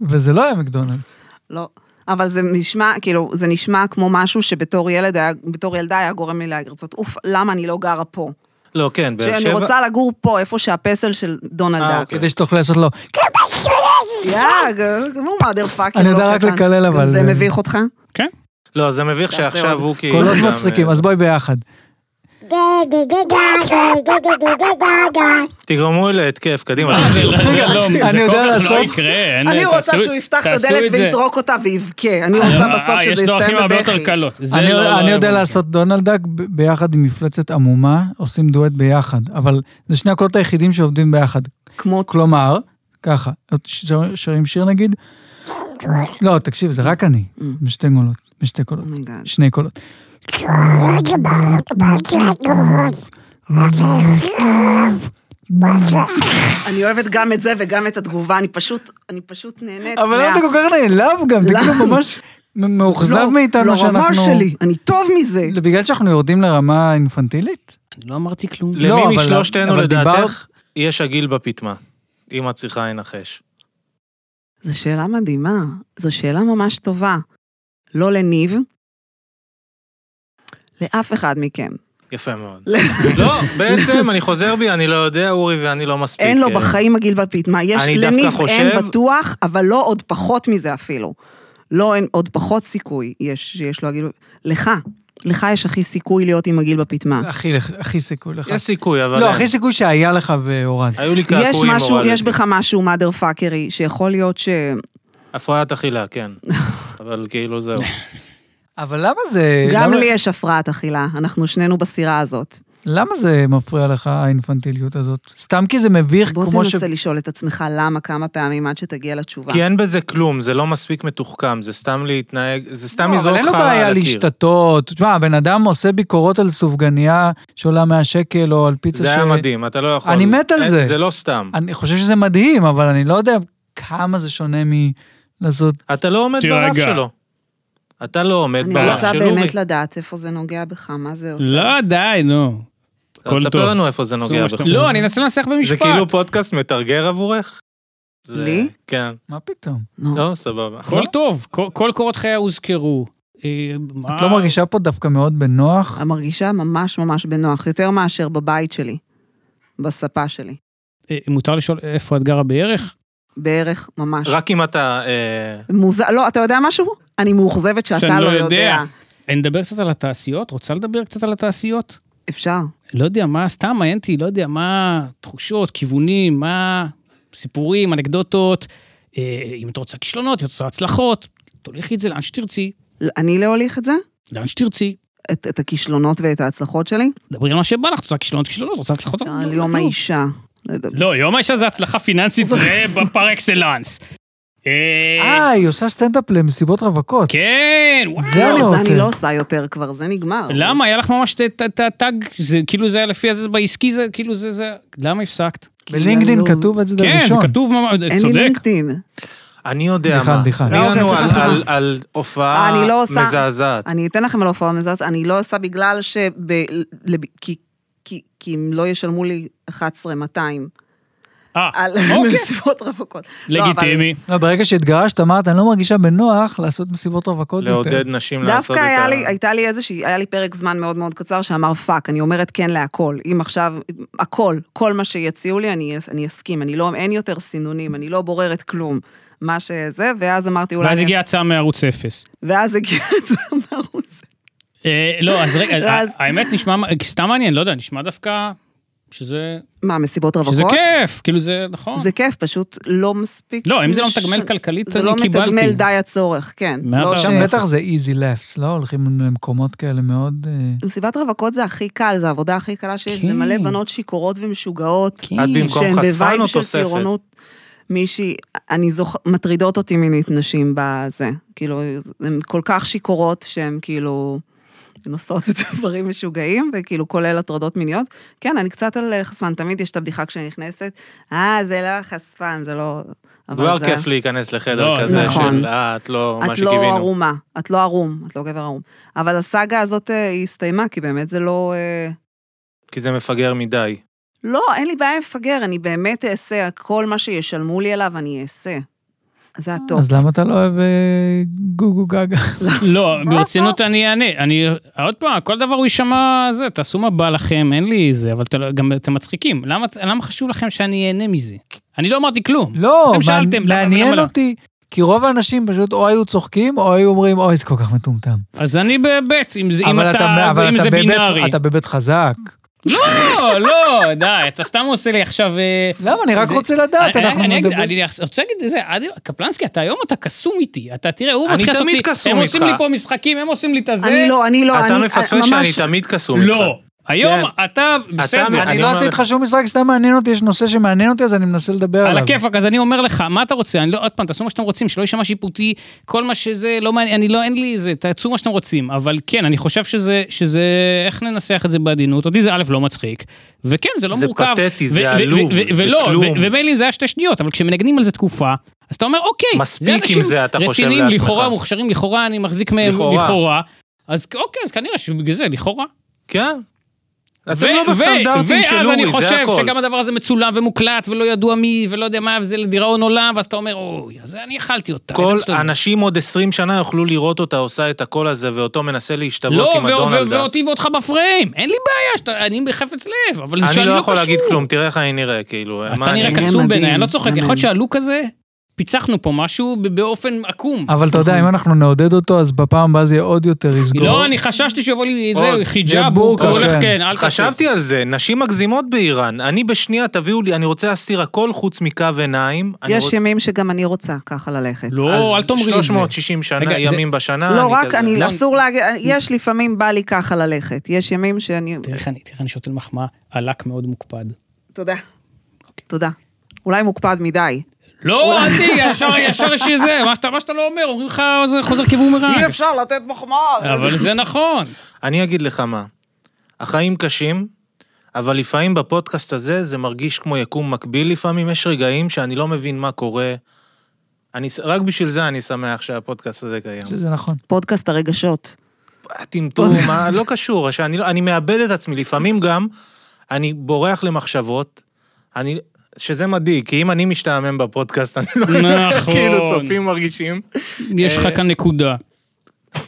וזה לא היה מקדונלדס. לא. אבל זה נשמע, כאילו, זה נשמע כמו משהו שבתור ילד היה, בתור ילדה היה גורם לי לרצות, אוף, למה אני לא גרה פה? לא, כן, באר שאני שבע. רוצה לגור פה, איפה שהפסל של דונלד אה, דאק. אוקיי. כדי שתוכל לעשות לו, יאג, כמו מאדר פאקינג. אני יודע רק לקלל, אבל- זה מביך אותך? כן. לא, זה מביך תעשה שעכשיו עוד. הוא כאילו... קולות גם, מצחיקים, אה, אז בואי ביחד. תגרמו להתקף, קדימה. אה, זה- רגע, לא, אני זה כל יודע כך לעשות- לא יקרה. אין- אני רוצה תעשו- שהוא יפתח את תעשו הדלת זה. ויטרוק אותה ויבכה. אני רוצה אה, בסוף שזה יש דרכים יסתיים הרבה יותר בבכי. קלות. זה אני, לא- לא אני יודע הבנתי. לעשות דונלדק ב- ביחד עם מפלצת עמומה, עושים דואט ביחד, אבל זה שני הקולות היחידים שעובדים ביחד. כמו... כלומר, ככה, את שר- שרים שיר נגיד? לא, תקשיב, זה רק אני, Mm. בשתי קולות, בשתי קולות, אומייגאד. שני קולות. אני אוהבת גם את זה וגם את התגובה, אני פשוט, אני פשוט נהנית. אבל למה מה- אתה כל כך נעלב גם? אתה כאילו ממש מ- מאוכזב לא, מאיתנו לא רמה שאנחנו... שלי, אני טוב מזה. בגלל שאנחנו יורדים לרמה אינפנטילית? אני לא אמרתי כלום. לא, אבל- למי משלושתנו אבל לדעתך דיברת- יש עגיל בפיטמה? אם את צריכה לנחש. זו שאלה מדהימה, זו שאלה ממש טובה. לא לניב, לאף אחד מכם. יפה מאוד. לא, בעצם, אני חוזר בי, אני לא יודע, אורי ואני לא מספיק. אין לו אה, בחיים מגעיל בפיטמה. יש אני דווקא לניב חושב- אין בטוח, אבל לא עוד פחות מזה אפילו. לא, אין עוד פחות סיכוי יש שיש לו עגיל... לך, לך יש הכי סיכוי להיות עם עגיל בפטמה. הכי לח- הכי סיכוי לך. יש סיכוי, אבל... לא, אין. הכי סיכוי שהיה לך אה. והורדת. היו לי קעקועים יש משהו, הורדתי. יש בך משהו מאדר פאקרי, שיכול להיות ש... הפרעת אכילה, כן. אבל כאילו זהו. אבל למה זה... גם למה- לי יש הפרעת אכילה, אנחנו שנינו בסירה הזאת. למה זה מפריע לך, האינפנטיליות הזאת? סתם כי זה מביך, בוא כמו ש... תנסה לשאול את עצמך למה כמה פעמים עד שתגיע לתשובה. כי אין בזה כלום, זה לא מספיק מתוחכם, זה סתם להתנהג, זה סתם לא, לזרוק אבל חרא אין על לו הקיר. בעיה להשתתות. תשמע, הבן אדם עושה ביקורות על סופגניה שעולה 100 שקל או על פיצה ש... זה היה מדהים, אתה לא יכול... אני מת על אין- זה. זה לא סתם. אני חושב שזה מדהים, אבל אני לא יודע כמה זה שונה מלעשות... אתה לא עומד תירגע. ברף שלו. אתה לא עומד אני ברף רוצה של אורי. באמת לדעת איפה זה נוגע בך, מה זה עושה. לא, די, נו. אז הכל טוב. ספר לנו איפה זה נוגע עשו מה שאתם בך. רוצים. לא, אני אנסה לנסח זה במשפט. כאילו פודקאסט מתרגר עבורך? זה- לי? כן. מה פתאום? נו. לא, סבבה. הכל טוב, כל- כל קורות חייה הוזכרו. אה, אה. את לא מרגישה פה דווקא מאוד בנוח? אני מרגישה ממש ממש בנוח, יותר מאשר בבית שלי, בספה שלי. אה, מותר לשאול איפה את גרה בערך? בערך ממש. רק אם אתה... אה, מוזר, לא, אתה יודע משהו? אני מאוכזבת שאתה שאני לא לא יודע. יודע. נדבר קצת על התעשיות? רוצה לדבר קצת על התעשיות? אפשר. לא יודע, מה סתם מעניין אותי, לא יודע, מה תחושות, כיוונים, מה סיפורים, אנקדוטות. אה, אם את רוצה כישלונות, אם את רוצה הצלחות, תוליכי את זה לאן שתרצי, אני להוליך את זה? לאן שתרצי. את, את הכישלונות ואת ההצלחות שלי? דברי על מה שבא לך, את רוצה כישלונות, כישלונות, רוצה הצלחות. על לא, יום לא. האישה. לא יודע. לא, יום האישה זה הצלחה פיננסית, זה בפר אקסלנס. אה, אה, היא עושה סטנדאפ למסיבות רווקות. כן, וואו. זה לא, אני זה לא. רוצה. אני לא עושה יותר כבר, זה נגמר. למה? היה לך ממש את הטאג, זה כאילו זה היה לפי הזה בעסקי, זה כאילו זה, זה, למה הפסקת? בלינקדאין כי אני לא- כתוב את זה כן, זה לראשון. כתוב ממש, אין לי צודק. לינקדאין. אני יודע בדיחה, מה. בדיחה. תני לא, לנו אוקיי, על- סליחה, על- סליחה. אה, על אני הופעה לא עושה- מזעזעת. אני אתן לכם על הופעה מזעזעת, אני לא עושה בגלל ש... כי, כי, כי אם לא ישלמו לי 11,200 אה, על לא, אוקיי, מסיבות רווקות. לא, אבל- לגיטימי. לא, ברגע שהתגרשת, אמרת, אני לא מרגישה בנוח לעשות מסיבות רווקות יותר. לעודד נשים לעשות את דווקא ה... היה לי, הייתה לי איזושהי, היה לי פרק זמן מאוד מאוד קצר שאמר פאק, אני אומרת כן להכל. אם עכשיו, הכל, כל מה שיציעו לי, אני, אני אסכים, אני לא, אין יותר סינונים, אני לא בוררת כלום. מה שזה, ואז אמרתי אולי... ואז אני- הגיעה הצעה מערוץ אפס. ואז הגיע את זה מהערוץ. אה, לא, אז רגע, ואז- ה- האמת נשמע, סתם מעניין, לא יודע, נשמע דווקא שזה מה, מסיבות רווקות? שזה כיף, כאילו זה נכון. זה כיף, פשוט לא מספיק. לא, אם זה לא מש- מתגמל כלכלית, זה אני לא קיבלתי. מתגמל די הצורך, כן. מה לא אתה- ש- שם בטח זה easy laughs, לא? הולכים למקומות כאלה מאוד... אה, מסיבת רווקות זה הכי קל, זו העבודה הכי קלה שיש, זה כן. מלא בנות שיכורות ומשוגעות. כן. את במקום שהן חשפן או בווייב של תוספת? טירונות. מישהי, אני זוכ... מטרידות אותי מינית נשים בזה. כאילו, הן כל כך שיכורות שהן כאילו נושאות את הדברים משוגעים, וכאילו כולל הטרדות מיניות. כן, אני קצת על אה, חשפן, תמיד יש את הבדיחה כשאני נכנסת, אה, זה לא חשפן, זה לא... אבל כבר זה- כיף להיכנס לחדר לא, כזה נכון. של אה, את לא מה את לא שקיווינו. ערומה, את לא ערום, את לא גבר ערום. אבל הסאגה הזאת אה, היא הסתיימה, כי באמת זה לא... אה, כי זה מפגר מדי. לא, אין לי בעיה לפגר, אני באמת אעשה, כל מה שישלמו לי עליו, אני אעשה. זה הטופ. אז למה אתה לא אוהב אה, גוגו גגה? לא, ברצינות אני אענה. אני, עוד פעם, כל דבר הוא יישמע זה, תעשו מה בא לכם, אין לי זה, אבל אתה לא- גם אתם מצחיקים. למה- למה חשוב לכם שאני אהנה מזה? אני לא אמרתי כלום. לא, אתם מענ- שאלתם, למה מעניין ולמה לא? אותי, כי רוב האנשים פשוט או היו צוחקים, או היו אומרים, אוי, זה כל כך מטומטם. אז אני בבית, אם זה- אם אבל אתה- אבל אם אתה זה בבית- בינארי. אתה בבית חזק. לא, לא, די, אתה סתם עושה לי עכשיו... אה, למה? אני רק זה- רוצה לדעת, אני- לא, אנחנו אני- אני- מדברים. אני רוצה להגיד את זה, עדי- קפלנסקי, אתה היום אתה קסום איתי. אתה תראה, הוא אני מתחיל לעשות תמיד לי... קסום הם עושים איתך. לי פה משחקים, הם עושים לי את הזה. אני לא, אני לא, אני... אתה מפספס שאני ממש- תמיד קסום איתך. לא. היום כן. אתה בסדר. אני אני לא אומר אעשה לך. איתך שום משחק, סתם מעניין אותי, יש נושא שמעניין אותי, אז אני מנסה לדבר עליו. על הכיפאק, אז אני אומר לך, מה אתה רוצה? אני לא, עוד פעם, תעשו מה שאתם רוצים, שלא יישמע שיפוטי, כל מה שזה, לא מעניין, אני לא, אין לי זה, תעשו מה שאתם רוצים. אבל כן, אני חושב שזה, שזה, איך ננסח את זה בעדינות? אותי זה א', לא מצחיק, וכן, זה לא זה מורכב. פתטי, ו- זה ו- ו- עלוב, ו- זה ולא, ו- כלום. ומילא אם זה היה שתי שניות, אבל כשמנגנים על זה תקופה, אז אתה אומר, אוקיי, מספיק עם אנשים זה, אתה חושב רציניים, לעצמך. לכאורה מוכשרים, לכאורה אני מחזיק מהם, לכאורה. לכאורה. אז אוקיי, אז כנראה שבגלל זה, לכאורה. כן. אתם ו- לא ו- בסטנדרטים של ואז אני אורי, זה חושב הכל. שגם הדבר הזה מצולם ומוקלט ולא ידוע מי ולא יודע מה, וזה לדיראון עולם, ואז אתה אומר, אוי, אז אני אכלתי אותה. כל אני חושב- אנשים עוד 20 שנה יוכלו לראות אותה עושה את הקול הזה, ואותו מנסה לא, להשתוות עם ו- ו- הדונלדה. ואותי ואותך בפריים, אין לי בעיה, שאתה- אני בחפץ לב, אבל זה אני שאני לא לא יכול להגיד קשור. כלום, תראה איך אני נראה, כאילו. מה אתה אני- נראה אני- קסום מדהים, בעיניי, אני לא צוחק, מדהים. יכול להיות שהלוק הזה פיצחנו פה משהו ב- באופן עקום. אבל אתה יודע, אם אנחנו נעודד אותו, אז בפעם הבאה זה יהיה עוד יותר יסגור. לא, אני חששתי שיבוא לי את עוד. זה, חיג'אב, הוא בורקה, הולך, כן. כן, אל תעשה. את זה. חשבתי על זה, נשים מגזימות באיראן. אני בשנייה, תביאו לי, אני רוצה להסתיר הכל חוץ מקו עיניים. אני יש רוצה- ימים שגם אני רוצה ככה ללכת. אז לא, אל תאמרי את זה. 360 שנה, רגע, ימים בשנה. לא, רק, כזה- אני, לא, אסור להגיד, יש לפעמים בא לי ככה ללכת. יש ימים שאני... תראה איך אני- תראה איך אני שותל מחמאה, הלק מאוד מוקפד. תודה. תודה. אולי מוקפד מדי. לא, אל תהיה, ישר- ישר יש לי זה, מה שאתה- מה שאתה לא אומר, אומרים לך, זה חוזר כבומרנג. אי אפשר לתת מחמאה. אבל זה נכון. אני אגיד לך מה, החיים קשים, אבל לפעמים בפודקאסט הזה זה מרגיש כמו יקום מקביל לפעמים, יש רגעים שאני לא מבין מה קורה. אני, ס- רק בשביל זה אני שמח שהפודקאסט הזה קיים. שזה נכון. פודקאסט הרגשות. טמטום, מה, לא קשור, שאני, לא- אני מאבד את עצמי, לפעמים גם אני בורח למחשבות, אני, שזה מדאיג, כי אם אני משתעמם בפודקאסט, אני לא יודע איך נכון. כאילו צופים מרגישים. יש אה, לך כאן נקודה. לא,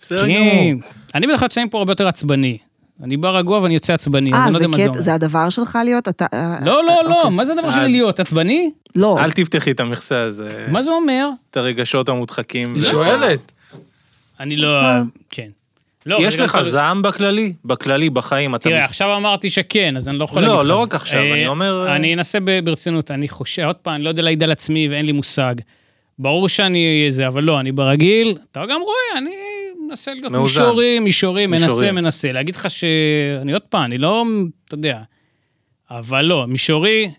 בסדר גמור. כן. אני בדרך כלל יוצא מפה הרבה יותר עצבני. אני בא רגוע ואני יוצא עצבני, אז אה, אני לא זה יודע מה זה קטע, אומר. זה הדבר שלך להיות? אתה... אה, לא, אה, לא, לא, אוקיי, מה זה הדבר סעד. שלי להיות? עצבני? לא, אל תפתחי את המכסה הזה, מה זה אומר? את הרגשות המודחקים. היא שואלת. אני לא... כן. לא, יש אבל- לך זעם בכללי? בכללי, בחיים, אתה... תראה, מס- עכשיו אמרתי שכן, אז אני לא יכול לא, להגיד לך. לא רק עכשיו, אה, אני אומר- אני אנסה ב- ברצינות, אני חושב, עוד פעם, אני לא יודע להעיד על עצמי ואין לי מושג. ברור שאני זה, אבל לא, אני ברגיל, אתה גם רואה, אני מנסה להיות מאוזן. מישורים, מישורים, מנסה, מישורים. מנסה. להגיד לך ש... אני עוד פעם, אני לא, אתה יודע, אבל לא, מישורי,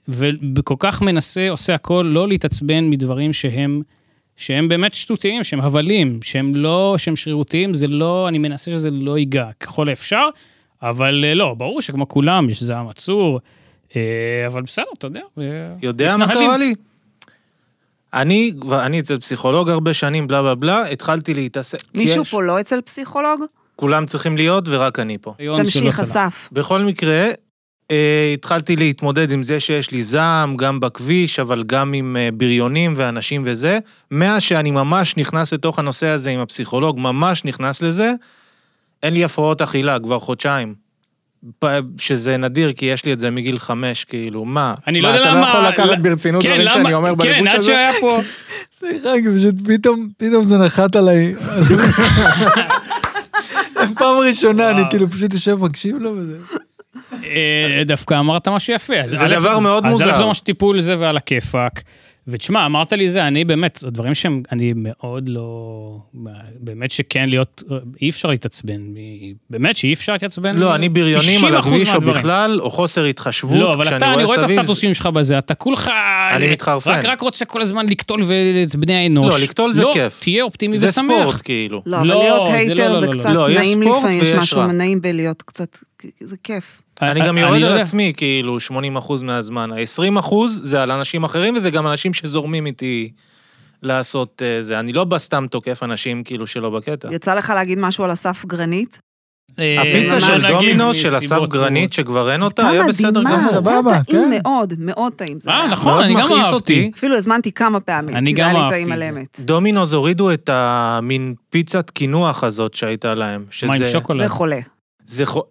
וכל כך מנסה, עושה הכל, לא להתעצבן מדברים שהם... שהם באמת שטותיים, שהם הבלים, שהם לא, שהם שרירותיים, זה לא, אני מנסה שזה לא ייגע ככל האפשר, אבל אה, לא, ברור שכמו כולם, יש זעם עצור, אה, אבל בסדר, אתה יודע. אה, יודע מה מתנהלים. קרה לי? אני, כבר- אני אצל פסיכולוג הרבה שנים, בלה בלה בלה, התחלתי להתעסק. מישהו יש- פה לא אצל פסיכולוג? כולם צריכים להיות ורק לא, אני פה. היום שלא תמשיך, צלח. אסף. בכל מקרה, אה, התחלתי להתמודד עם זה שיש לי זעם, גם בכביש, אבל גם עם אה, בריונים ואנשים וזה. מאז שאני ממש נכנס לתוך הנושא הזה עם הפסיכולוג, ממש נכנס לזה, אין לי הפרעות אכילה כבר חודשיים. פ- שזה נדיר, כי יש לי את זה מגיל חמש, כאילו, מה? אני לא מה, יודע למה... אתה לא יכול לקחת ל- ברצינות כן, דברים למה- שאני אומר כן, בלבוש עד הזה? שהיה פה... סליחה, כי פשוט פתאום, פתאום זה נחת עליי. פעם ראשונה, אני כאילו פשוט יושב מקשיב לו וזה. אה, דווקא אמרת משהו יפה. אז זה א', דבר מאוד אז מוזר. א' זה ממש טיפול זה ועל הכיפאק. ותשמע, אמרת לי זה, אני באמת, הדברים שהם, אני מאוד לא... באמת שכן להיות, אי אפשר להתעצבן, מ- באמת שאי אפשר להתעצבן. לא, אני בריונים על 90% הכביש או מהדברים. בכלל, או חוסר התחשבות, לא, אבל אתה, אני רואה את הסטטוסים שלך בזה, אתה כולך... אני מתחרפן. רק, רק רוצה כל הזמן לקטול ו- את בני האנוש. לא, לקטול זה כיף. תהיה אופטימי זה ושמח. ספורט, כאילו. לא, אבל לא, להיות זה לא, הייטר לא, זה לא, לא, קצת לא, יש נעים ספורט לפעמים, יש ויש משהו רע. נעים בלהיות קצת, זה כיף. אני גם יורד לא על יודע. עצמי, כאילו, 80% מהזמן. ה-20% זה על אנשים אחרים, וזה גם אנשים שזורמים איתי לעשות אה, זה. אני לא בא סתם תוקף אנשים, כאילו, שלא בקטע. יצא לך להגיד משהו על אסף גרנית? אה, הפיצה לא של נגיד דומינוס, של מסיבות אסף גרנית, טובות. שכבר אין אותה, כמה היה בסדר מדהימה, גמור. סבבה, היה טעים כן. מאוד, מאוד טעים. זה אה, היה. נכון, מאוד אני גם מכעיס אהבתי. אותי. אפילו הזמנתי כמה פעמים, אני כי זה גם היה לי אהבתי טעים את על זה. אמת. דומינוס הורידו את המין פיצת קינוח הזאת שהייתה להם. מה עם שזה- שוקולד? זה חולה. זה חו...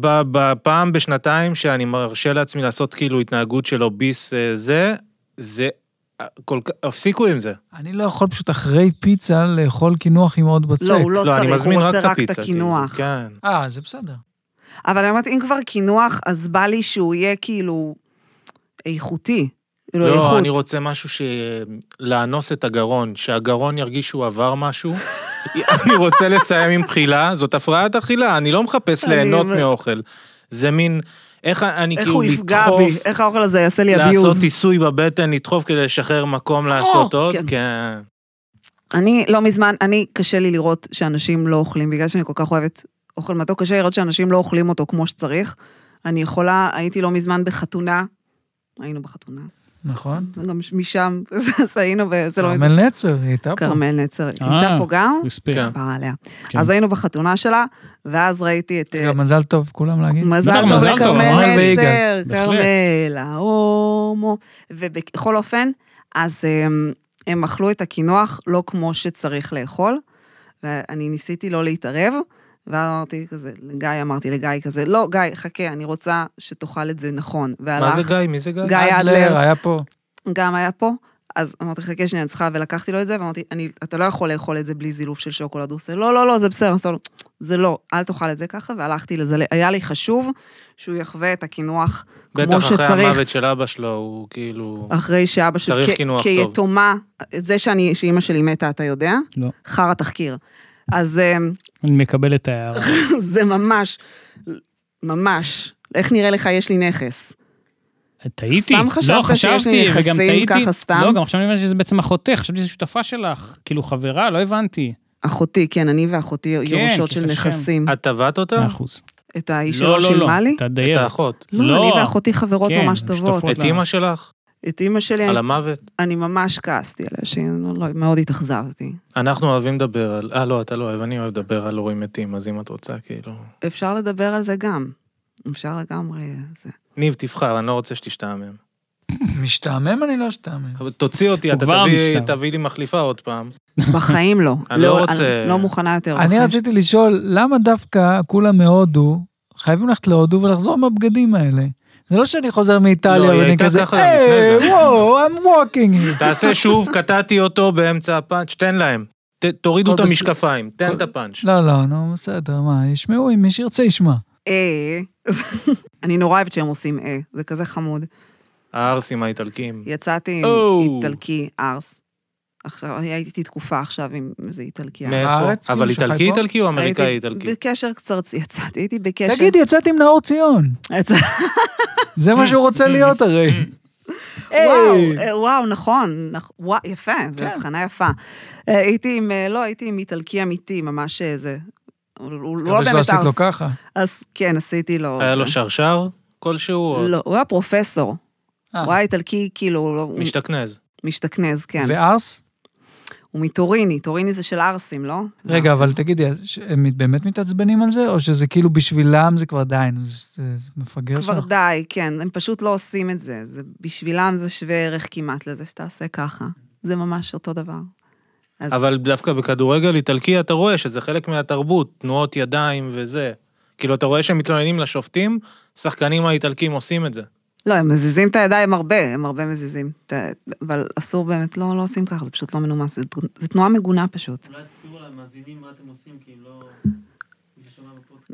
ב- בפעם בשנתיים שאני מרשה לעצמי לעשות כאילו התנהגות של אוביס אה, זה, זה אה, כל כך, הפסיקו עם זה. אני לא יכול פשוט אחרי פיצה לאכול קינוח עם עוד בצק. לא, הוא לא לא, אני צריך, מזמין הוא רק רוצה את רק את הפיצה. הקינוח. כאילו, כן. אה, זה בסדר. אבל אני אומרת, אם כבר קינוח, אז בא לי שהוא יהיה כאילו איכותי. כאילו לא, אני איכות. רוצה משהו ש... לאנוס את הגרון, שהגרון ירגיש שהוא עבר משהו. אני רוצה לסיים עם בחילה, זאת הפרעת אכילה, אני לא מחפש אני ליהנות אומר- מאוכל. זה מין, איך אני איך כאילו הוא יפגע לדחוף, בי, איך האוכל הזה יעשה לי לעשות abuse. עיסוי בבטן, לדחוף כדי לשחרר מקום לעשות עוד, כן. כן. אני לא מזמן, אני, קשה לי לראות שאנשים לא אוכלים, בגלל שאני כל כך אוהבת אוכל מתוק, קשה לי לראות שאנשים לא אוכלים אותו כמו שצריך. אני יכולה, הייתי לא מזמן בחתונה, היינו בחתונה, נכון. גם משם, אז היינו, וזה לא... כרמל נצר, היא הייתה פה. כרמל נצר, אה. הייתה פה גם? רספקט. כן. כפרה עליה. כן. אז היינו בחתונה שלה, ואז ראיתי את... אה, רגע, מזל טוב, כולם להגיד. לא, מזל בטח, טוב מזל טוב, לכרמל כרמל ויגאל, עזר, כרמל, ההומו. ובכל אופן, אז הם, הם אכלו את הקינוח לא כמו שצריך לאכול, ואני ניסיתי לא להתערב, ואז אמרתי כזה, לגיא, אמרתי לגיא כזה, לא, גיא, חכה, אני רוצה שתאכל את זה נכון. מה והלך זה גיא? מי זה גיא? גיא אדלר, היה פה. גם היה פה, אז אמרתי, חכה שנייה, אני צריכה, ולקחתי לו את זה, ואמרתי, "אני- אתה לא יכול לאכול את זה בלי זילוף של שוקולד. הוא עושה, לא, לא, לא, זה בסדר. עשה לו, זה לא, אל תאכל את זה ככה, והלכתי לזה. היה לי חשוב שהוא יחווה את הקינוח כמו בטח אחרי שצריך. המוות של אבא שלו, הוא כאילו... אחרי שאבא שלי, צריך כ- קינוח טוב. כיתומה, את זה שאני, שאימא שלי מתה, אתה יודע? לא. חרא תחקיר. אז אמ, אני מקבל את ההערה. זה ממש, ממש, איך נראה לך יש לי נכס? טעיתי. סתם חשבת לא, שיש לי חשבתי, נכסים וגם טעיתי. ככה סתם? לא, גם עכשיו אני מבין שזה בעצם אחותך, חשבתי שזו שותפה שלך. כאילו חברה, לא הבנתי. אחותי, כן, אני ואחותי ירושות של ככה שם. נכסים. את טבעת אותה? מאה אחוז. את האיש לא, שלא לא, לא, שילמה לי? את תדייר. האחות. לא. לא, אני ואחותי חברות כן, ממש טובות. משותפות. את אימא שלך? את אימא שלי, על המוות? אני ממש כעסתי עליה, שהיא לא- לא, מאוד התאכזבתי. אנחנו אוהבים לדבר על... אה, לא, אתה לא אוהב, אני אוהב לדבר על הורים מתים, אז אם את רוצה, כאילו... אפשר לדבר על זה גם. אפשר לגמרי... זה. ניב, תבחר, אני לא רוצה שתשתעמם. משתעמם אני לא אשתעמם. אבל תוציא אותי, הוא אתה כבר תביא, משתעמם. תביא לי מחליפה עוד פעם. בחיים לא. אני לא רוצה- אני לא מוכנה יותר. אני בחיים. רציתי לשאול, למה דווקא כולם מהודו, חייבים ללכת להודו ולחזור מהבגדים האלה? זה לא שאני חוזר לא, מאיטליה היא ואני הייתה כזה, ככה גם לפני היי, זה." וואו, I'm walking here. תעשה שוב, קטעתי אותו באמצע הפאנץ', תן להם. ת- תורידו את הכל בסדר. המשקפיים, תן הכל- את הפאנץ'. לא, לא, נו, בסדר, מה, ישמעו, אם מי שירצה ישמע. אה. אני נורא אוהבת שהם עושים אה, זה כזה חמוד. הערסים האיטלקים. יצאתי עם או. איטלקי ארס. עכשיו, הייתי תקופה עכשיו עם איזה איטלקיה. מאיפה? בארץ, כאילו, אבל שחי איטלקי פה? איטלקי או אמריקאי הייתי איטלקי? בקשר קצרצי, יצאתי, הייתי בקשר... תגיד, יצאת עם נאור ציון. יצא- זה מה שהוא רוצה להיות הרי. וואו, היי. כן. אה, וואו, נכון, נכ- וואו, יפה, זו הבחנה יפה. אה, הייתי עם, אה, לא, הייתי עם איטלקי אמיתי, ממש אה, זה. הוא- הוא לא מקווה שלא באמת עשית לו ארס. ככה. אז כן, עשיתי לו... היה לו זה. שרשר כלשהו? או- לא, הוא היה פרופסור. אה. הוא היה איטלקי, כאילו, הוא לא- הוא משתכנז. משתכנז, כן. וארס? הוא מטוריני, טוריני זה של ערסים, לא? רגע, אבל תגידי, ש- הם באמת מתעצבנים על זה, או שזה כאילו בשבילם זה כבר די, נו, זה- זה זה מפגר כבר שם? די, כן, הם פשוט לא עושים את זה. זה בשבילם זה שווה ערך כמעט לזה שתעשה ככה. זה ממש אותו דבר. אז- אבל דווקא בכדורגל איטלקי אתה רואה שזה חלק מהתרבות, תנועות ידיים וזה. כאילו, אתה רואה שהם מתלוננים לשופטים, שחקנים האיטלקים עושים את זה. לא, הם מזיזים את הידיים הרבה, הם הרבה מזיזים. את ה- אבל אסור באמת, לא, לא עושים ככה, זה פשוט לא מנומס, זה, תג- זה תנועה מגונה פשוט. אולי תזכירו למאזינים מה אתם עושים, כי אם לא...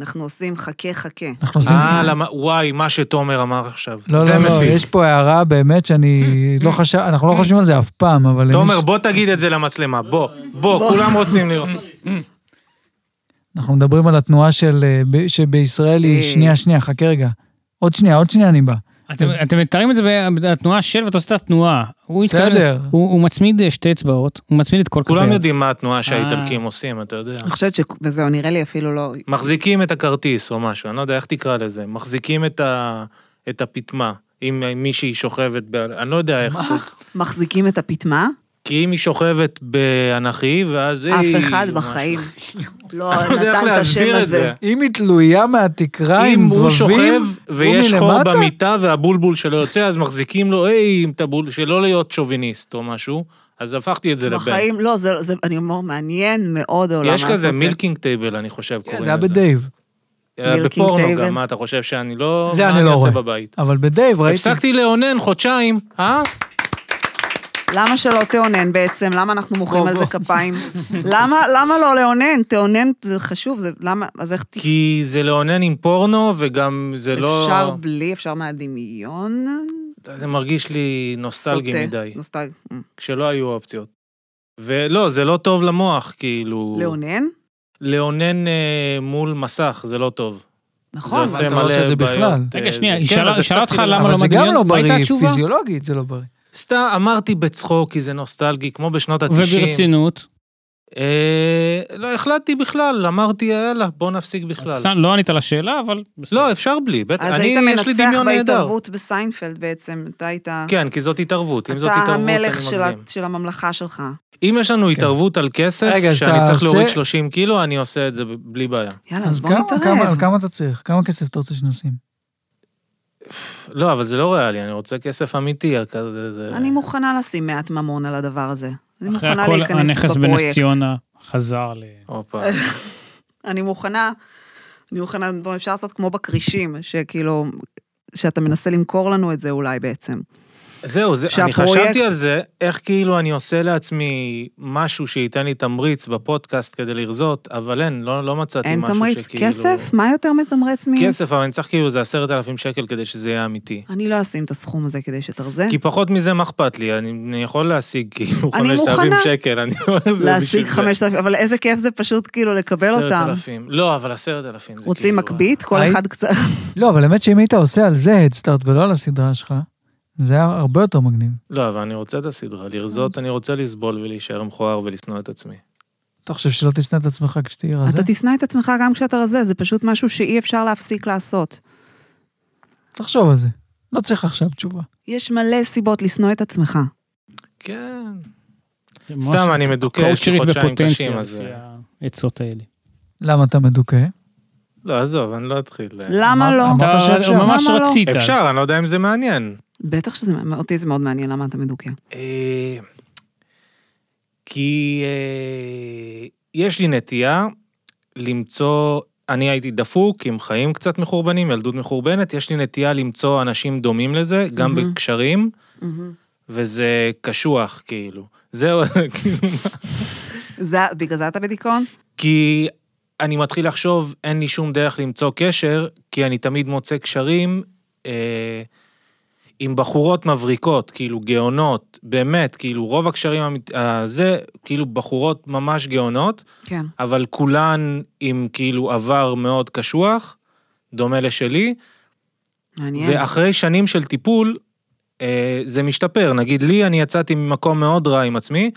אנחנו עושים חכה חכה. אנחנו עושים... אה, למה, וואי, מה שתומר אמר עכשיו. לא, זה לא, לא, מפיק. יש פה הערה באמת שאני לא Mm. חשב, אנחנו לא חושבים על זה אף פעם, אבל... אם תומר, יש- בוא תגיד את זה למצלמה, בוא, בוא, כולם רוצים לראות. אנחנו מדברים על התנועה של... אה, ב- שבישראל היא... אה. שנייה, שנייה, חכה רגע. עוד שנייה, עוד שנייה אני בא. אתם- אתם מתארים את זה בתנועה של ואתה עושה את התנועה. הוא בסדר. התכוון- הוא הוא מצמיד אה, שתי אצבעות, הוא מצמיד את כל כפי כולם היד. יודעים מה התנועה אה. שהאיטלקים עושים, אתה יודע. אני חושבת שזהו, נראה לי אפילו לא... מחזיקים את הכרטיס או משהו, אני לא יודע איך תקרא לזה, מחזיקים את, ה... את הפטמה, אם מישהי שוכבת, ב... אני לא יודע איך, מה? מחזיקים את הפיטמה? כי אם היא שוכבת באנכי, ואז אף היא... אחד משהו. בחיים לא אני לא יודע איך נתן את השם להסביר את הזה. זה. אם היא תלויה מהתקרה עם אם דבבים, הוא שוכב ויש הוא חור מלמטה? במיטה והבולבול שלו יוצא, אז מחזיקים לו, היי, אם אתה בול... שלא להיות שוביניסט או משהו, אז הפכתי את זה לבן. בחיים, לא, זה, זה, אני אומר, מעניין מאוד העולם יש כזה לעשות זה. מילקינג טייבל, אני חושב, כן, קוראים זה היה לזה. בדייב. היה milking בפורנו table. גם, מה אתה חושב שאני לא... זה מה אני לא אעשה רואה. בבית? אבל בדייב ראיתי... הפסקתי לאונן חודשיים, אה? למה שלא תאונן בעצם? למה אנחנו מוחאים בוא, על זה בוא. כפיים? למה, למה לא לאונן? תאונן זה חשוב, זה למה, אז איך ת... כי זה לאונן עם פורנו, וגם זה לא... אפשר בלי, אפשר מהדמיון? זה מרגיש לי נוסטלגי סוטה, מדי, נוסטלגי. אמ. כשלא היו אופציות. ולא, זה לא טוב למוח, כאילו... לאונן? לאונן אה, מול מסך, זה לא טוב. נכון. אבל זה עושה אתה לא עושה את זה מלא בכלל. בעיות. רגע, אה, שנייה, זה- היא כן, שאלה- אז היא שאלה הפסקתי אותך לאונן. למה אבל לא זה גם מדמיון? לא מה הייתה בריא, התשובה? פיזיולוגית זה לא בריא. סתם אמרתי בצחוק, כי זה נוסטלגי, כמו בשנות ה-90. וברצינות. אה, לא, החלטתי בכלל, אמרתי, יאללה, בוא נפסיק בכלל. סתם, לא ענית לשאלה, אבל בסדר. לא, אפשר בלי, בטח, אז אני, היית יש לי מנצח דמיון נהדר. בהתערבות בסיינפלד בעצם, אתה היית... כן, כי זאת התערבות, אם זאת אתה התערבות, אני המלך של ה- מגזים. של הממלכה שלך. אם יש לנו התערבות על כסף, כן. רגע, אז שאני אתה צריך עושה- להוריד 30 קילו, אני עושה את זה ב- בלי בעיה. יאללה, אז אז בוא כמה- כמה- נתערב. כמה אתה צריך? כמה כסף אתה רוצה שנשים? לא, אבל זה לא ריאלי, אני רוצה כסף אמיתי, כזה, זה... אני מוכנה לשים מעט ממון על הדבר הזה. אני אחרי מוכנה הכל, להיכנס הנכס בנס בפרויקט. ציונה חזר ל... הופה. אני מוכנה, אני מוכנה, בוא, אפשר לעשות כמו בכרישים, שכאילו, שאתה מנסה למכור לנו את זה אולי בעצם. זהו, זה, שהפרויקט- אני חשבתי על זה, איך כאילו אני עושה לעצמי משהו שייתן לי תמריץ בפודקאסט כדי לרזות, אבל אין, לא, לא מצאתי אין משהו תמריץ. שכאילו... כסף? מה יותר מתמרץ מ... כסף, אבל אני צריך כאילו איזה עשרת אלפים שקל כדי שזה יהיה אמיתי. אני לא אשים את הסכום הזה כדי שתרזה. כי פחות מזה מה אכפת לי, אני, אני יכול להשיג כאילו כן. אני 5,000 מוכנה. שקל, אני לא זה להשיג בשביל זה. 5,000, אבל איזה כיף זה פשוט כאילו לקבל אותם. 10,000. לא, אבל 10,000 זה רוצים כאילו- מקבית? כל היי- אחד קצת... לא, אבל האמת שאם היית עושה על זה הדסטארט ולא על הסדרה שלך, זה היה הרבה יותר מגניב. לא, אבל אני רוצה את הסדרה. אה, לרזות, אני רוצה לסבול ולהישאר מכוער ולשנוא את עצמי. אתה חושב שלא תשנא את עצמך כשתהיה רזה? אתה תשנא את עצמך גם כשאתה רזה, זה פשוט משהו שאי אפשר להפסיק לעשות. תחשוב על זה. לא צריך עכשיו תשובה. יש מלא סיבות לשנוא את עצמך. כן. זה סתם, משהו- אני מדוכא, יש לי קואוצ'רית חודשיים בפוטנציה, קשים, אז- אה. לפי העצות האלה. למה אתה מדוכא? לא, עזוב, אני לא אתחיל. למה אמרת- לא? אמרת אתה שאפשר. ממש למה לא? רצית. אז. אפשר, אני לא יודע אם זה מעניין. בטח שזה, אותי זה מאוד מעניין למה אתה מדוכא. אה, כי אה, יש לי נטייה למצוא, אני הייתי דפוק עם חיים קצת מחורבנים, ילדות מחורבנת, יש לי נטייה למצוא אנשים דומים לזה, גם מהמם. בקשרים, וזה קשוח, כאילו. זהו, כאילו, זה- בגלל זה אתה בדיכאון? כי אני מתחיל לחשוב, אין לי שום דרך למצוא קשר, כי אני תמיד מוצא קשרים אה, עם בחורות מבריקות, כאילו גאונות, באמת, כאילו רוב הקשרים המת- הזה, כאילו בחורות ממש גאונות, כן. אבל כולן עם כאילו עבר מאוד קשוח, דומה לשלי, מעניין. ואחרי שנים של טיפול, אה, זה משתפר. נגיד לי, אני יצאתי ממקום מאוד רע עם עצמי,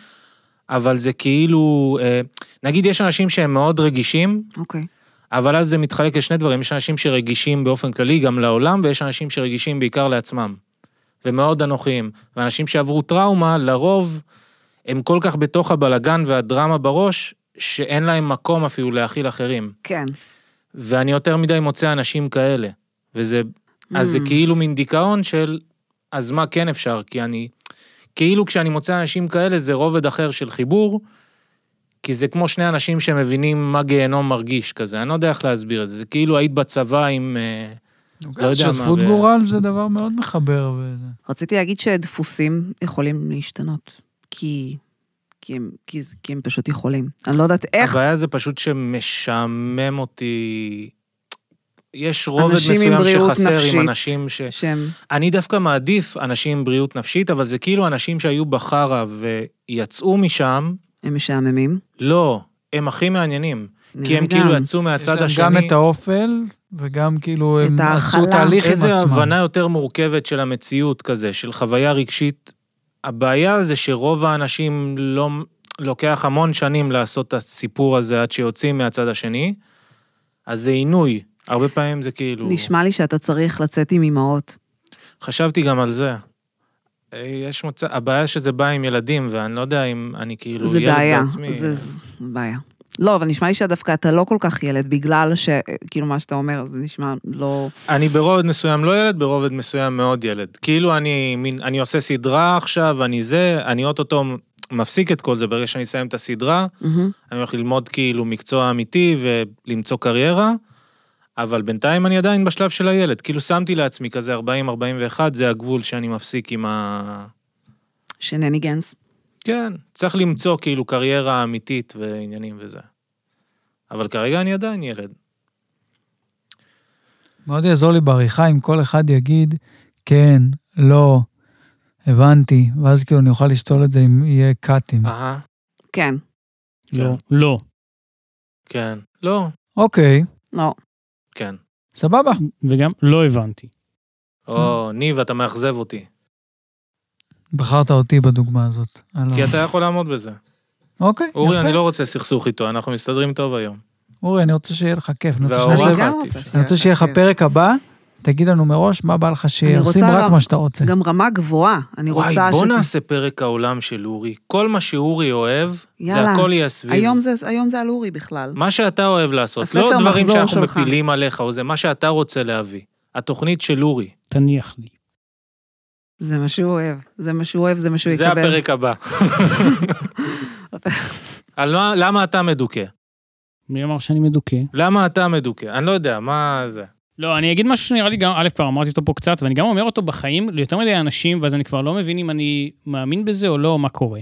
אבל זה כאילו, אה, נגיד יש אנשים שהם מאוד רגישים, אוקיי. אבל אז זה מתחלק לשני דברים, יש אנשים שרגישים באופן כללי גם לעולם, ויש אנשים שרגישים בעיקר לעצמם, ומאוד אנוכיים. ואנשים שעברו טראומה, לרוב, הם כל כך בתוך הבלגן והדרמה בראש, שאין להם מקום אפילו להכיל אחרים. כן. ואני יותר מדי מוצא אנשים כאלה. וזה, אז זה Mm. כאילו מין דיכאון של, אז מה כן אפשר? כי אני, כאילו כשאני מוצא אנשים כאלה זה רובד אחר של חיבור, כי זה כמו שני אנשים שמבינים מה גיהנום מרגיש כזה, אני לא יודע איך להסביר את זה, זה כאילו היית בצבא עם... אה, לא יודע מה, אוקיי, שותפות ו- גורל זה דבר מאוד מחבר. וזה. רציתי להגיד שדפוסים יכולים להשתנות. כי... כי הם, כי, זה- כי הם פשוט יכולים. אני לא יודעת איך. הבעיה זה פשוט שמשעמם אותי. יש רובד אנשים עם מסוים בריאות שחסר נפשית. עם אנשים ש... שהם... אני דווקא מעדיף אנשים עם בריאות נפשית, אבל זה כאילו אנשים שהיו בחרא ויצאו משם, הם משעממים. לא, הם הכי מעניינים. כי נראה הם לי כאילו גם. יצאו יש מהצד להם השני. גם את האופל, וגם כאילו את הם עשו ההכלה. תהליך עם עצמם. איזה הבנה יותר מורכבת של המציאות כזה, של חוויה רגשית. הבעיה זה שרוב האנשים לא... לוקח המון שנים לעשות את הסיפור הזה עד שיוצאים מהצד השני, אז זה עינוי. הרבה פעמים זה כאילו... נשמע לי שאתה צריך לצאת עם אימהות. חשבתי גם על זה. אה, יש מצב, הבעיה שזה בא עם ילדים, ואני לא יודע אם אני כאילו זה ילד בעיה. בעצמי. זה זה בעיה. לא, אבל נשמע לי שדווקא אתה לא כל כך ילד, בגלל ש... כאילו, מה שאתה אומר, זה נשמע לא... אני ברובד מסוים לא ילד, ברובד מסוים מאוד ילד. כאילו אני, מין, אני עושה סדרה עכשיו, אני זה, אני אוטוטו מפסיק את כל זה, ברגע שאני אסיים את הסדרה, מהמם. אני הולך ללמוד כאילו מקצוע אמיתי ולמצוא קריירה, אבל בינתיים אני עדיין בשלב של הילד. כאילו שמתי לעצמי כזה 40-41, זה הגבול שאני מפסיק עם ה... שנניגנס. כן, צריך למצוא כאילו קריירה אמיתית ועניינים וזה. אבל כרגע אני עדיין ילד. מאוד יעזור לי בעריכה אם כל אחד יגיד, כן, לא, הבנתי, ואז כאילו אני אוכל לשתול את זה אם יהיה קאטים. אהה, כן. לא. לא. כן. לא, אוקיי, לא. כן. סבבה. וגם לא הבנתי. אה. או, ניב, אתה מאכזב אותי. בחרת אותי בדוגמה הזאת. אני אה. לא- כי אתה יכול לעמוד בזה. אוקיי, יפה. אורי, אני לא רוצה סכסוך איתו, אנחנו מסתדרים טוב היום. אורי, אני רוצה שיהיה לך כיף. אני רוצה וההורה- שנעשה- אני גם הבנתי. רוצה אני רוצה שיהיה לך כן. פרק הבא, תגיד לנו מראש מה בא לך שיהיה, אני עושים רוצה רק גם- מה שאתה רוצה. גם רמה גבוהה. אני וואי, רוצה בוא שת- נעשה פרק העולם של אורי. כל מה שאורי אוהב, זה יאללה. הכל יהיה סביב. היום זה- היום זה על אורי בכלל. מה שאתה אוהב לעשות, לא הספר דברים מחזור שאנחנו שלך. מפילים עליך, או זה מה שאתה רוצה להביא. התוכנית של אורי, תניח לי. זה מה שהוא אוהב. זה מה שהוא אוהב, זה מה שהוא זה יקבל. הפרק הבא. על מה, למה אתה מדוכא? מי אמר שאני מדוכא? למה אתה מדוכא? אני לא יודע, מה זה? לא, אני אגיד משהו שנראה לי גם, א', כבר אמרתי אותו פה קצת, ואני גם אומר אותו בחיים ליותר מדי אנשים, ואז אני כבר לא מבין אם אני מאמין בזה או לא, או מה קורה.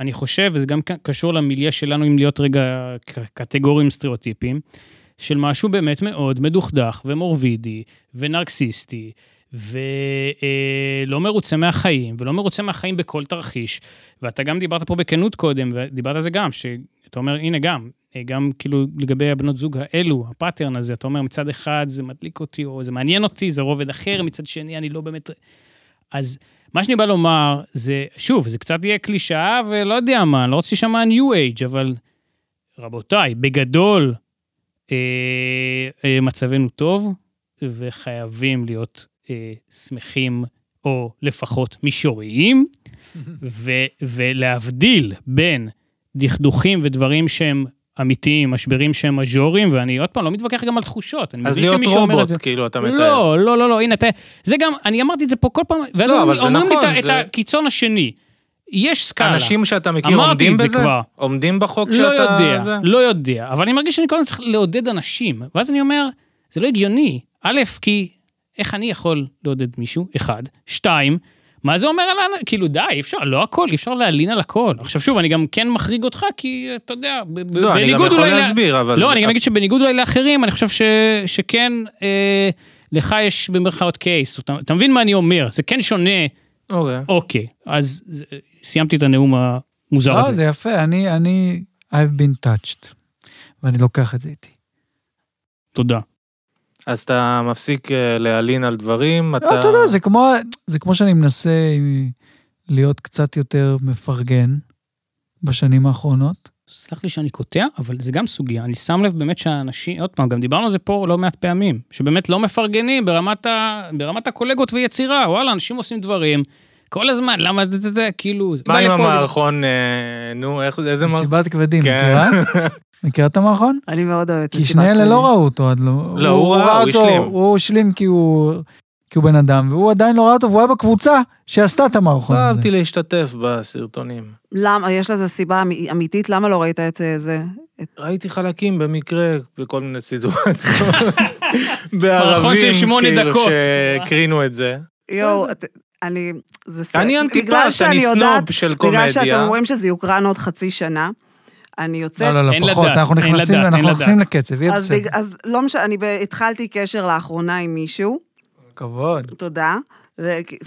אני חושב, וזה גם ק- קשור למיליה שלנו, אם להיות רגע ק- קטגוריים סטריאוטיפיים, של משהו באמת מאוד מדוכדך ומורבידי ונרקסיסטי, ולא מרוצה מהחיים, ולא מרוצה מהחיים בכל תרחיש. ואתה גם דיברת פה בכנות קודם, ודיברת על זה גם, שאתה אומר, הנה גם, אה, גם כאילו לגבי הבנות זוג האלו, הפאטרן הזה, אתה אומר, מצד אחד זה מדליק אותי, או זה מעניין אותי, זה רובד אחר, מצד שני אני לא באמת... אז מה שאני בא לומר, זה, שוב, זה קצת יהיה קלישאה ולא יודע מה, אני לא רוצה להישמע ניו אייג', אבל רבותיי, בגדול, אה, אה, מצבנו טוב, וחייבים להיות אה, שמחים, או לפחות מישוריים, ו, ולהבדיל בין דכדוכים ודברים שהם אמיתיים, משברים שהם מז'וריים, ואני עוד פעם לא מתווכח גם על תחושות, אני אז מבין להיות שמישהו אומר את רובוט, זה. כאילו, אתה מתאר. לא, לא, לא, לא, הנה, אתה... זה גם, אני אמרתי את זה פה כל פעם, ואז אומרים לא, אבל לי- זה אומרים לי נכון, את ה- זה- את הקיצון השני. יש סקאלה. אנשים שאתה מכיר אמרתי עומדים את זה בזה? כבר. עומדים בחוק לא שאתה... יודע, זה? לא יודע, אבל אני מרגיש שאני קודם צריך לעודד אנשים, ואז אני אומר, זה לא הגיוני. א', כי איך אני יכול לעודד מישהו? אחד. שתיים, מה זה אומר על האנשים? כאילו, די, אי אפשר, לא הכל, אי אפשר להלין על הכל. עכשיו, שוב, אני גם כן מחריג אותך, כי אתה יודע, ב- ב- לא, אני גם בניגוד יכול אולי... ל- להסביר, אבל... לא, זה- אוקיי. אני גם אגיד שבניגוד אולי לאחרים, אני חושב ש, שכן, אה, לך יש במרכאות קייס, אתה, אתה מבין מה אני אומר, זה כן שונה, אוקיי. אוקיי, אז זה- סיימתי את הנאום המוזר לא, הזה. זה יפה, אני, אני, I've been touched, ואני לוקח את זה איתי. תודה. אז אתה מפסיק אה, להלין על דברים, אתה... לא, אתה יודע, זה כמו, זה כמו שאני מנסה אה, להיות קצת יותר מפרגן בשנים האחרונות. סלח לי שאני קוטע, אבל זה גם סוגיה, אני שם לב באמת שהאנשים, עוד פעם, גם דיברנו על זה פה לא מעט פעמים, שבאמת לא מפרגנים ברמת, ה, ברמת הקולגות ויצירה, וואלה, אנשים עושים דברים, כל הזמן, למה זה, זה, זה, כאילו, מה בא עם לפה- המערכון, אה, נו, איך זה, איזה מערכון? מסיבת כבדים, כן. מכירה? מכירה את המערכון? אני מאוד אוהבת כי שני אלה לא ראו אותו עד לא... לא, הוא ראה, ראה הוא אותו, השלים. הוא השלים כי הוא... כי הוא בן אדם, והוא עדיין לא ראה אותו, והוא היה בקבוצה שעשתה את המערכון לא הזה. אהבתי להשתתף בסרטונים. למה, יש לזה סיבה אמי- אמיתית, למה לא ראית את אה, זה? ראיתי חלקים במקרה, בכל מיני סיטואציות. כאילו, מערכון של שמונה דקות. שהקרינו את זה. יואו, את- אני... זה ס- אני בגלל אנטיפס, שאני אני יודעת- סנוב של בגלל קומדיה. שאתם אומרים שזה יוקרן עוד חצי שנה, אני לא, יוצאת... לא, אין לא, פחות, לדעת, אנחנו אין נכנסים, לדעת, אנחנו אין נכנסים לקצב, יהיה אז, בג... בסדר. אז לא משנה, אני ב... התחלתי קשר לאחרונה עם מישהו, כבוד. תודה. זה... כי-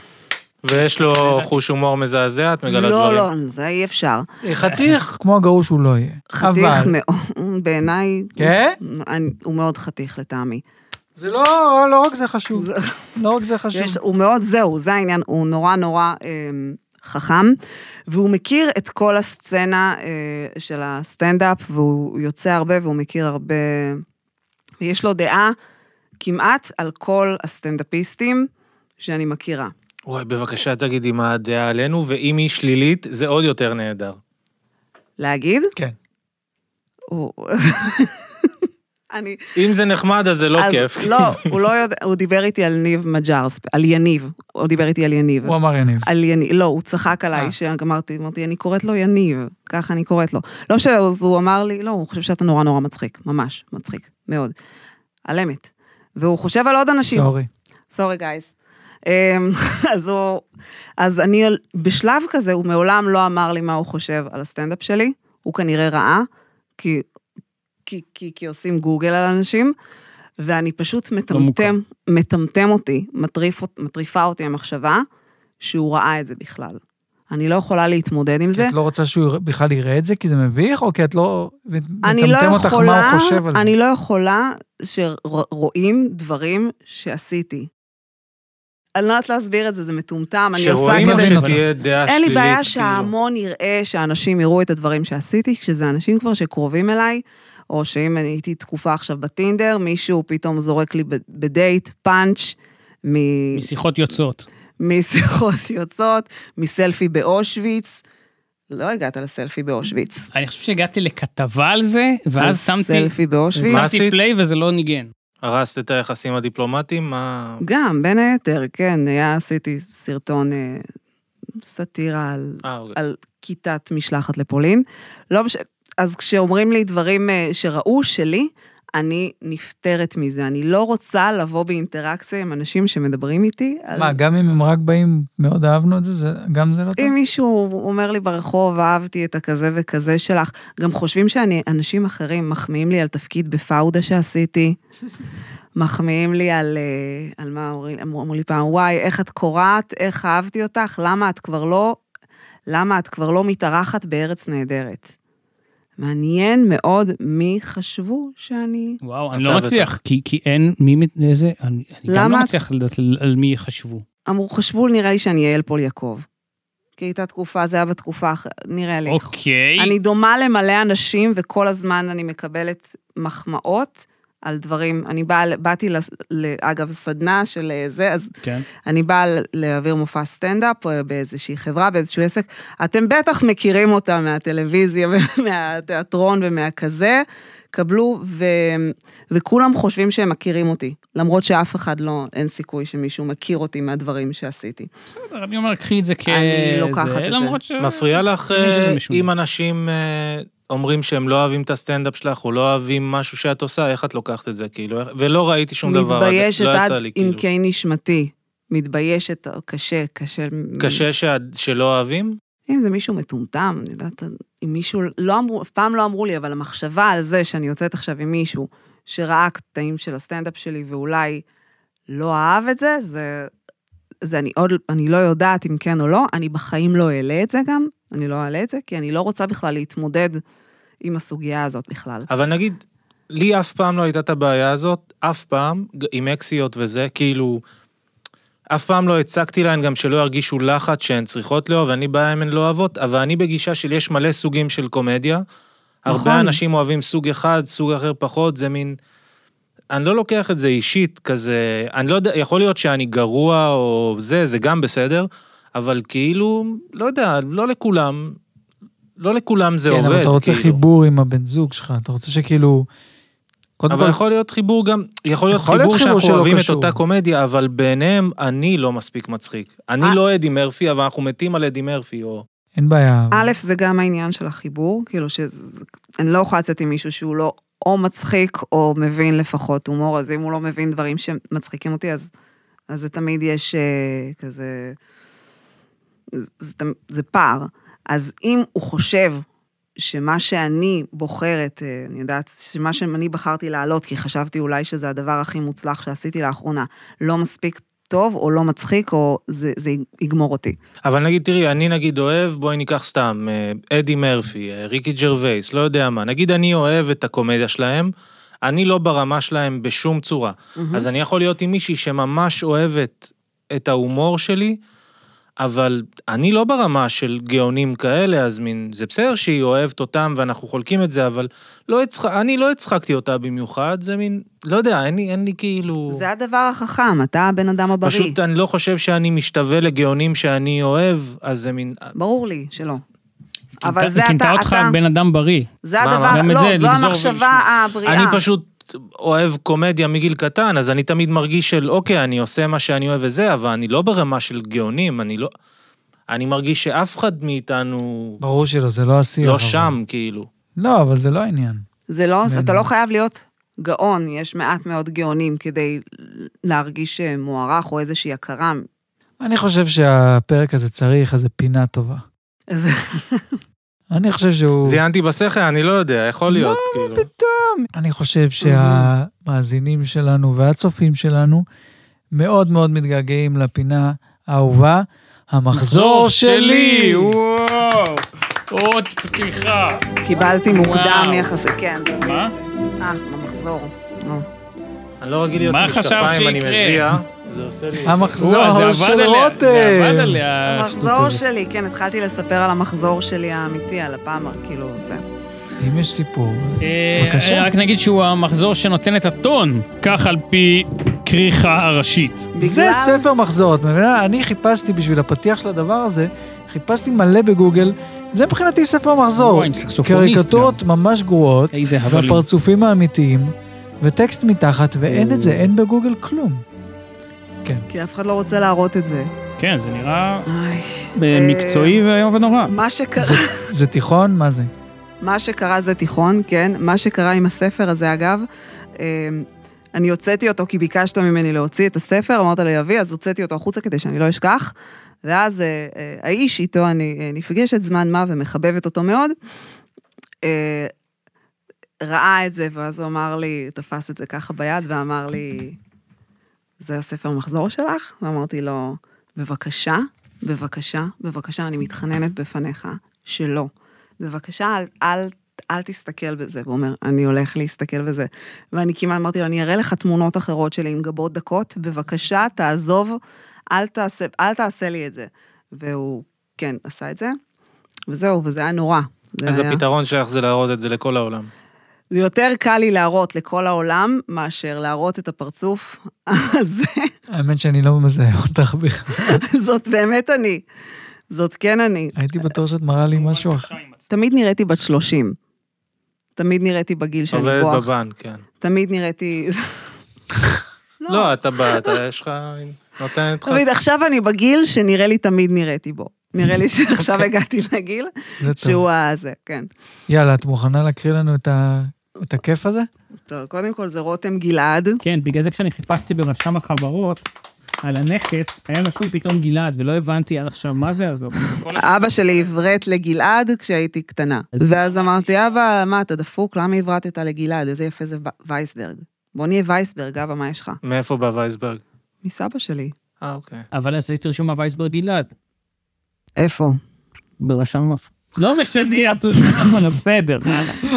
ויש לו חוש הומור מזעזע, את מגלה לא, דברים. לא, זה אי אפשר. אה, חתיך כמו הגרוש הוא לא יהיה. חתיך אבל- מאוד, בעיניי, כן? אני- הוא מאוד חתיך לטעמי. זה לא, לא רק זה חשוב. לא רק זה כן. חשוב. יש, הוא מאוד, זהו, זה העניין, הוא נורא נורא אמ, חכם, והוא מכיר את כל הסצנה אה, של הסטנדאפ, והוא יוצא הרבה והוא מכיר הרבה, ויש לו דעה כמעט על כל הסטנדאפיסטים שאני מכירה. וואי, בבקשה, תגידי מה הדעה עלינו, ואם היא שלילית, זה עוד יותר נהדר. להגיד? כן. הוא... אני... אם זה נחמד, אז זה לא אז- כיף. לא, הוא לא יודע, הוא דיבר איתי על ניב מג'רס, על יניב, הוא דיבר איתי על יניב. הוא אמר יניב. על יניב, לא, הוא צחק אה. עליי, שגמרתי, אמרתי, אני קוראת לו יניב, ככה אני קוראת לו. לא משנה, אז הוא אמר לי, לא, הוא חושב שאתה נורא נורא מצחיק, ממש מצחיק, מאוד. על אמת. והוא חושב על עוד אנשים. סורי. סורי גייז. אמ, אז הוא, אז אני, בשלב כזה, הוא מעולם לא אמר לי מה הוא חושב על הסטנדאפ שלי, הוא כנראה ראה, כי, כי, כי, כי עושים גוגל על אנשים, ואני פשוט מוכר. מטמטם, מטמטם אותי, מטריף, אות- מטריפה אותי המחשבה שהוא ראה את זה בכלל. אני לא יכולה להתמודד עם זה. את לא רוצה שהוא יראה- בכלל יראה את זה כי זה מביך, או כי את לא... אני לא מטמטם אותך מה יכולה, הוא חושב על זה. אני לא יכולה שרואים דברים שעשיתי. אני לא יודעת להסביר את זה, זה מטומטם, אני עושה שרואים את כזה- זה, שתהיה דעה אין שלילית. לי בעיה כאילו. שההמון יראה שאנשים יראו את הדברים שעשיתי, כשזה אנשים כבר שקרובים אליי, או שאם אני הייתי תקופה עכשיו בטינדר, מישהו פתאום זורק לי ב- בדייט פאנץ' מ- משיחות יוצאות. משיחות יוצאות, מסלפי באושוויץ. לא הגעת לסלפי באושוויץ. אני חושב שהגעתי לכתבה על זה, ואז שמתי, סלפי באושוויץ. מה שמתי עשית? פליי וזה לא ניגן. הרסת את היחסים הדיפלומטיים? מה... גם, בין היתר, כן, היה, עשיתי סרטון אה, סאטירה על אה, אוקיי. על כיתת משלחת לפולין. לא מש... אז כשאומרים לי דברים אה, שראו שלי, אני נפטרת מזה. אני לא רוצה לבוא באינטראקציה עם אנשים שמדברים איתי. על- מה, גם אם הם רק באים, מאוד אהבנו את זה, זה, גם זה לא טוב? אם מישהו אומר לי ברחוב, אהבתי את הכזה וכזה שלך, גם חושבים שאני, אנשים אחרים מחמיאים לי על תפקיד בפאודה שעשיתי, מחמיאים לי על, אה, על מה אומרים- אמרו אמרו לי פעם, וואי, איך את קורעת, איך אהבתי אותך, למה את כבר לא, למה את כבר לא מתארחת בארץ נהדרת. מעניין מאוד מי חשבו שאני... וואו, אני אתה לא מצליח, כי כי אין מי, מת- איזה, אני אני גם למה לא את- מצליח לדעת על- על מי חשבו. אמרו, חשבו, נראה לי שאני יעל פול יעקב. כי הייתה תקופה, זה היה בתקופה, אח- נראה לי. אוקיי. אני דומה למלא אנשים, וכל הזמן אני מקבלת מחמאות על דברים. אני באה, ל- באתי, לס- ל- אגב, סדנה של אה, זה, אז כן. אני באה ל- להעביר מופע סטנדאפ אה, באיזושהי חברה, באיזשהו עסק. אתם בטח מכירים אותה מהטלוויזיה ומהתיאטרון ומהכזה. קבלו, ו... וכולם חושבים שהם מכירים אותי, למרות שאף אחד לא, אין סיכוי שמישהו מכיר אותי מהדברים שעשיתי. בסדר, אני אומר, קחי את זה כ... אני לוקחת זה, את זה. למרות ש... מפריע לך אני חושב שזה אה, משונה. אם אנשים אה, אומרים שהם לא אוהבים את הסטנדאפ שלך, או לא אוהבים משהו שאת עושה, איך את לוקחת את זה, כאילו? איך- ולא ראיתי שום דבר, עד- מתביישת לא עד יצא לי, כאילו. כן- עמקי נשמתי. מתביישת, קשה, קשה. קשה שאת- שלא אוהבים? אם זה מישהו מטומטם, אני יודעת, אם מישהו, לא אמרו, אף פעם לא אמרו לי, אבל המחשבה על זה שאני יוצאת עכשיו עם מישהו שראה קטעים של הסטנדאפ שלי ואולי לא אהב את זה, זה, זה אני עוד, אני לא יודעת אם כן או לא, אני בחיים לא אעלה את זה גם, אני לא אעלה את זה, כי אני לא רוצה בכלל להתמודד עם הסוגיה הזאת בכלל. כן. אבל נגיד, לי אף פעם לא הייתה את הבעיה הזאת, אף פעם, ג- עם אקסיות וזה, כאילו... אף פעם לא הצגתי להן גם שלא ירגישו לחץ שהן צריכות לאהוב, ואני בעיה אם הן לא אוהבות, אבל אני בגישה של יש מלא סוגים של קומדיה. נכון. הרבה אנשים אוהבים סוג אחד, סוג אחר פחות, זה מין... אני לא לוקח את זה אישית, כזה... אני לא יודע, יכול להיות שאני גרוע או זה, זה גם בסדר, אבל כאילו, לא יודע, לא לכולם, לא לכולם זה עובד, כן, אבל אתה רוצה כאילו. חיבור עם הבן זוג שלך, אתה רוצה שכאילו... קודם אבל כל, יכול להיות חיבור גם, יכול להיות יכול להיות חיבור חיבור שאנחנו שלא אוהבים את קשור. אותה קומדיה, אבל ביניהם אני לא מספיק מצחיק. אני אה. לא אדי מרפי, אבל אנחנו מתים על אדי מרפי, או... אין בעיה. א', זה גם העניין של החיבור, כאילו שאני לא יכולה לצאת עם מישהו שהוא לא או מצחיק או מבין לפחות הומור, אז אם הוא לא מבין דברים שמצחיקים אותי, אז, אז זה תמיד יש אה, כזה... זה, זה, תמ- זה פער. אז אם הוא חושב שמה שאני בוחרת, אה, אני יודעת, שמה שאני בחרתי להעלות, כי חשבתי אולי שזה הדבר הכי מוצלח שעשיתי לאחרונה, לא מספיק טוב או לא מצחיק, או זה, זה יגמור אותי. אבל נגיד, תראי, אני נגיד אוהב, בואי ניקח סתם, אה, אדי מרפי, אה, ריקי ג'רווייס, לא יודע מה. נגיד אני אוהב את הקומדיה שלהם, אני לא ברמה שלהם בשום צורה. אז אני יכול להיות עם מישהי שממש אוהבת את ההומור שלי, אבל אני לא ברמה של גאונים כאלה, אז מין, זה בסדר שהיא אוהבת אותם ואנחנו חולקים את זה, אבל לא הצח... אני לא הצחקתי אותה במיוחד, זה מין, לא יודע, אין לי, אין לי כאילו... זה הדבר החכם, אתה הבן אדם הבריא. פשוט אני לא חושב שאני משתווה לגאונים שאני אוהב, אז זה מין... ברור לי שלא. היא אבל כינתה- זה היא אתה, כינתה אותך אתה, בן אדם בריא. זה מה, הדבר, מה? גם את זה לא, זו לגזור המחשבה הבריאה. אני פשוט אוהב קומדיה מגיל קטן, אז אני תמיד מרגיש של, אוקיי, אני עושה מה שאני אוהב וזה, אבל אני לא ברמה של גאונים, אני לא... אני מרגיש שאף אחד מאיתנו ברור שלא, זה לא השיח. לא אבל. שם, כאילו. לא, אבל זה לא העניין. זה לא, בין- אתה לא חייב להיות גאון, יש מעט מאוד גאונים כדי להרגיש אה, מוערך או איזושהי הכרה. אני חושב שהפרק הזה צריך איזה פינה טובה. אז- אני חושב שהוא... זיינתי בשכל, אני לא יודע, יכול להיות, כאילו. אני חושב שהמאזינים שלנו והצופים שלנו מאוד מאוד מתגעגעים לפינה האהובה, המחזור שלי! וואו! עוד פתיחה. קיבלתי מוקדם וואו. יחסי, כן. מה? אה, במחזור. נו. אני לא רגיל להיות מה עם חשבת משקפיים, אני שיקרה? מזיע. זה עושה לי... וואו, זה המחזור עבד של עליה, זה עבד רותם! עליה. המחזור הזאת. שלי, כן, התחלתי לספר על המחזור שלי האמיתי, על הפעם, כאילו, זה. אם יש סיפור, אה, בבקשה. רק נגיד שהוא המחזור שנותן את הטון, כך על פי כריכה הראשית. זה בגלל- ספר מחזור, את מבינה? אני חיפשתי בשביל הפתיח של הדבר הזה, חיפשתי מלא בגוגל, זה מבחינתי ספר מחזור. וואי, עם סקסופוניסט קריקטורות ממש גרועות, גם. איזה הבלים. והפרצופים האמיתיים, וטקסט מתחת, ואין את זה, אין בגוגל כלום. כי אף אחד לא רוצה להראות את זה. כן, זה נראה איי. אה, מקצועי ואיום ונורא. מה שקרה... זה תיכון? מה זה? מה שקרה זה תיכון, כן. מה שקרה עם הספר הזה, אגב, אה, אני הוצאתי אותו כי ביקשת ממני להוציא את הספר, אמרת לי אבי, אז הוצאתי אותו החוצה כדי שאני לא אשכח. ואז אה, אה, האיש איתו אני אה, נפגשת זמן מה ומחבבת אותו מאוד. אה, ראה את זה, ואז הוא אמר לי, תפס את זה ככה ביד ואמר לי, זה הספר מחזור שלך? ואמרתי לו, בבקשה, בבקשה, בבקשה, אני מתחננת בפניך, שלא. בבקשה, אל, אל, אל תסתכל בזה. והוא אומר, אני הולך להסתכל בזה. ואני כמעט אמרתי לו, אני אראה לך תמונות אחרות שלי עם גבות דקות, בבקשה, תעזוב, אל תעשה, אל תעשה לי את זה. והוא, כן, עשה את זה, וזהו, וזה היה נורא. זה אז היה- הפתרון שלך זה להראות את זה לכל העולם. זה יותר קל לי להראות לכל העולם, מאשר להראות את הפרצוף הזה. האמת שאני לא מזהה אותך בכלל. זאת באמת אני. זאת כן אני. הייתי בטוח שאת מראה לי משהו אחר. תמיד נראיתי בת 30. תמיד נראיתי בגיל שאני עובדת בוח. בבנק, כן. תמיד נראיתי... לא, אתה בא, אתה, יש לך... נותנת לך... תמיד, עכשיו אני בגיל שנראה לי תמיד נראיתי בו. נראה לי שעכשיו הגעתי לגיל זה טוב. שהוא הזה, כן. יאללה, את מוכנה להקריא לנו את ה- את הכיף הזה? טוב, קודם כל זה רותם גלעד. כן, בגלל זה כשאני חיפשתי ברשם החברות על הנכס, היה רשום פתאום גלעד, ולא הבנתי עד עכשיו מה זה הזאת. נכון. אבא שלי עברת לגלעד כשהייתי קטנה. אז- ואז אמרתי, אבא, מה, אתה דפוק? למה עברתת לגלעד? איזה יפה זה ו- וייסברג. בוא נהיה וייסברג, אבא, מה יש לך? מאיפה בא וייסברג? מסבא שלי. אה, אוקיי. אבל אז הייתי רשום הווייסברג גלעד. איפה? ברשם... לא משנה, את רשומה, בסדר.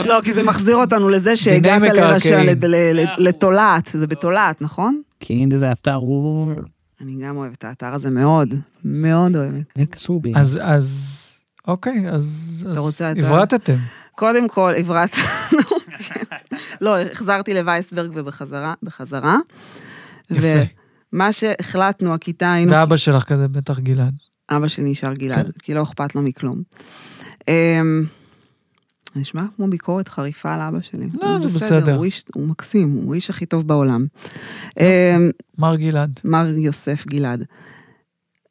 לא, כי זה מחזיר אותנו לזה שהגעת דיני לרשע, מקרקעין. לד- ל- ל- לתולעת, זה בתולעת, נכון? כן, זה אתר, הוא... אני גם אוהבת את האתר הזה מאוד, מאוד אוהבת. קשור בי. אז, אז, אוקיי, אז, אתה אז רוצה, אתה- הברטתם. קודם כל, הברטנו, כן. לא, החזרתי לווייסברג ובחזרה, בחזרה. יפה. ומה שהחלטנו, הכיתה היינו... ואבא שלך כזה, בטח גלעד. אבא שלי נשאר גלעד, כן. כי לא אכפת לו מכלום. אמ, נשמע כמו ביקורת חריפה על אבא שלי. לא, הוא זה בסדר. כן. הוא איש- הוא מקסים, הוא האיש הכי טוב בעולם. אמ, מר גלעד. מר יוסף גלעד.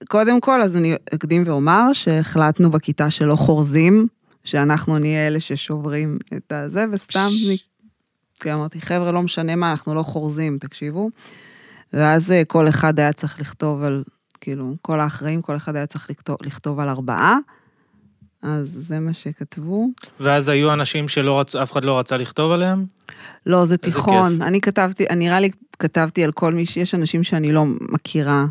קודם כל, אז אני אקדים ואומר שהחלטנו בכיתה שלא חורזים, שאנחנו נהיה אלה ששוברים את הזה, וסתם אני... כי אמרתי, חבר'ה, לא משנה מה, אנחנו לא חורזים, תקשיבו. ואז אה, כל אחד היה צריך לכתוב על, כאילו, כל האחראים, כל אחד היה צריך לכתוב, לכתוב על ארבעה. אז זה מה שכתבו. ואז היו אנשים שלא רצו, אף אחד לא רצה לכתוב עליהם? לא, זה כיף. תיכון. אני כתבתי, אני נראה לי כתבתי על כל מי ש... יש אנשים שאני לא מכירה.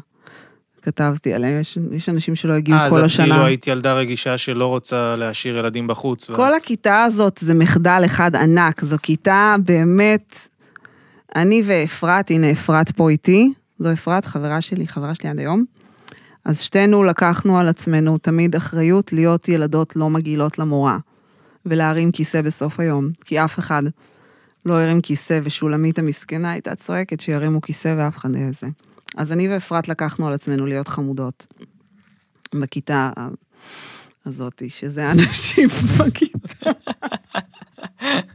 כתבתי עליהם, יש, יש אנשים שלא הגיעו אה, אז כל את השנה. כאילו היית ילדה רגישה שלא רוצה להשאיר ילדים בחוץ. ואת- כל הכיתה הזאת זה מחדל אחד ענק, זו כיתה באמת... אני ואפרת, הנה אפרת פה איתי, זו אפרת, חברה שלי, חברה שלי עד היום. אז שתינו לקחנו על עצמנו תמיד אחריות להיות ילדות לא מגעילות למורה, ולהרים כיסא בסוף היום, כי אף אחד לא הרים כיסא, ושולמית המסכנה הייתה צועקת שירימו כיסא ואף אחד לא זה. אז אני ואפרת לקחנו על עצמנו להיות חמודות בכיתה ה- הזאת, שזה אנשים בכיתה.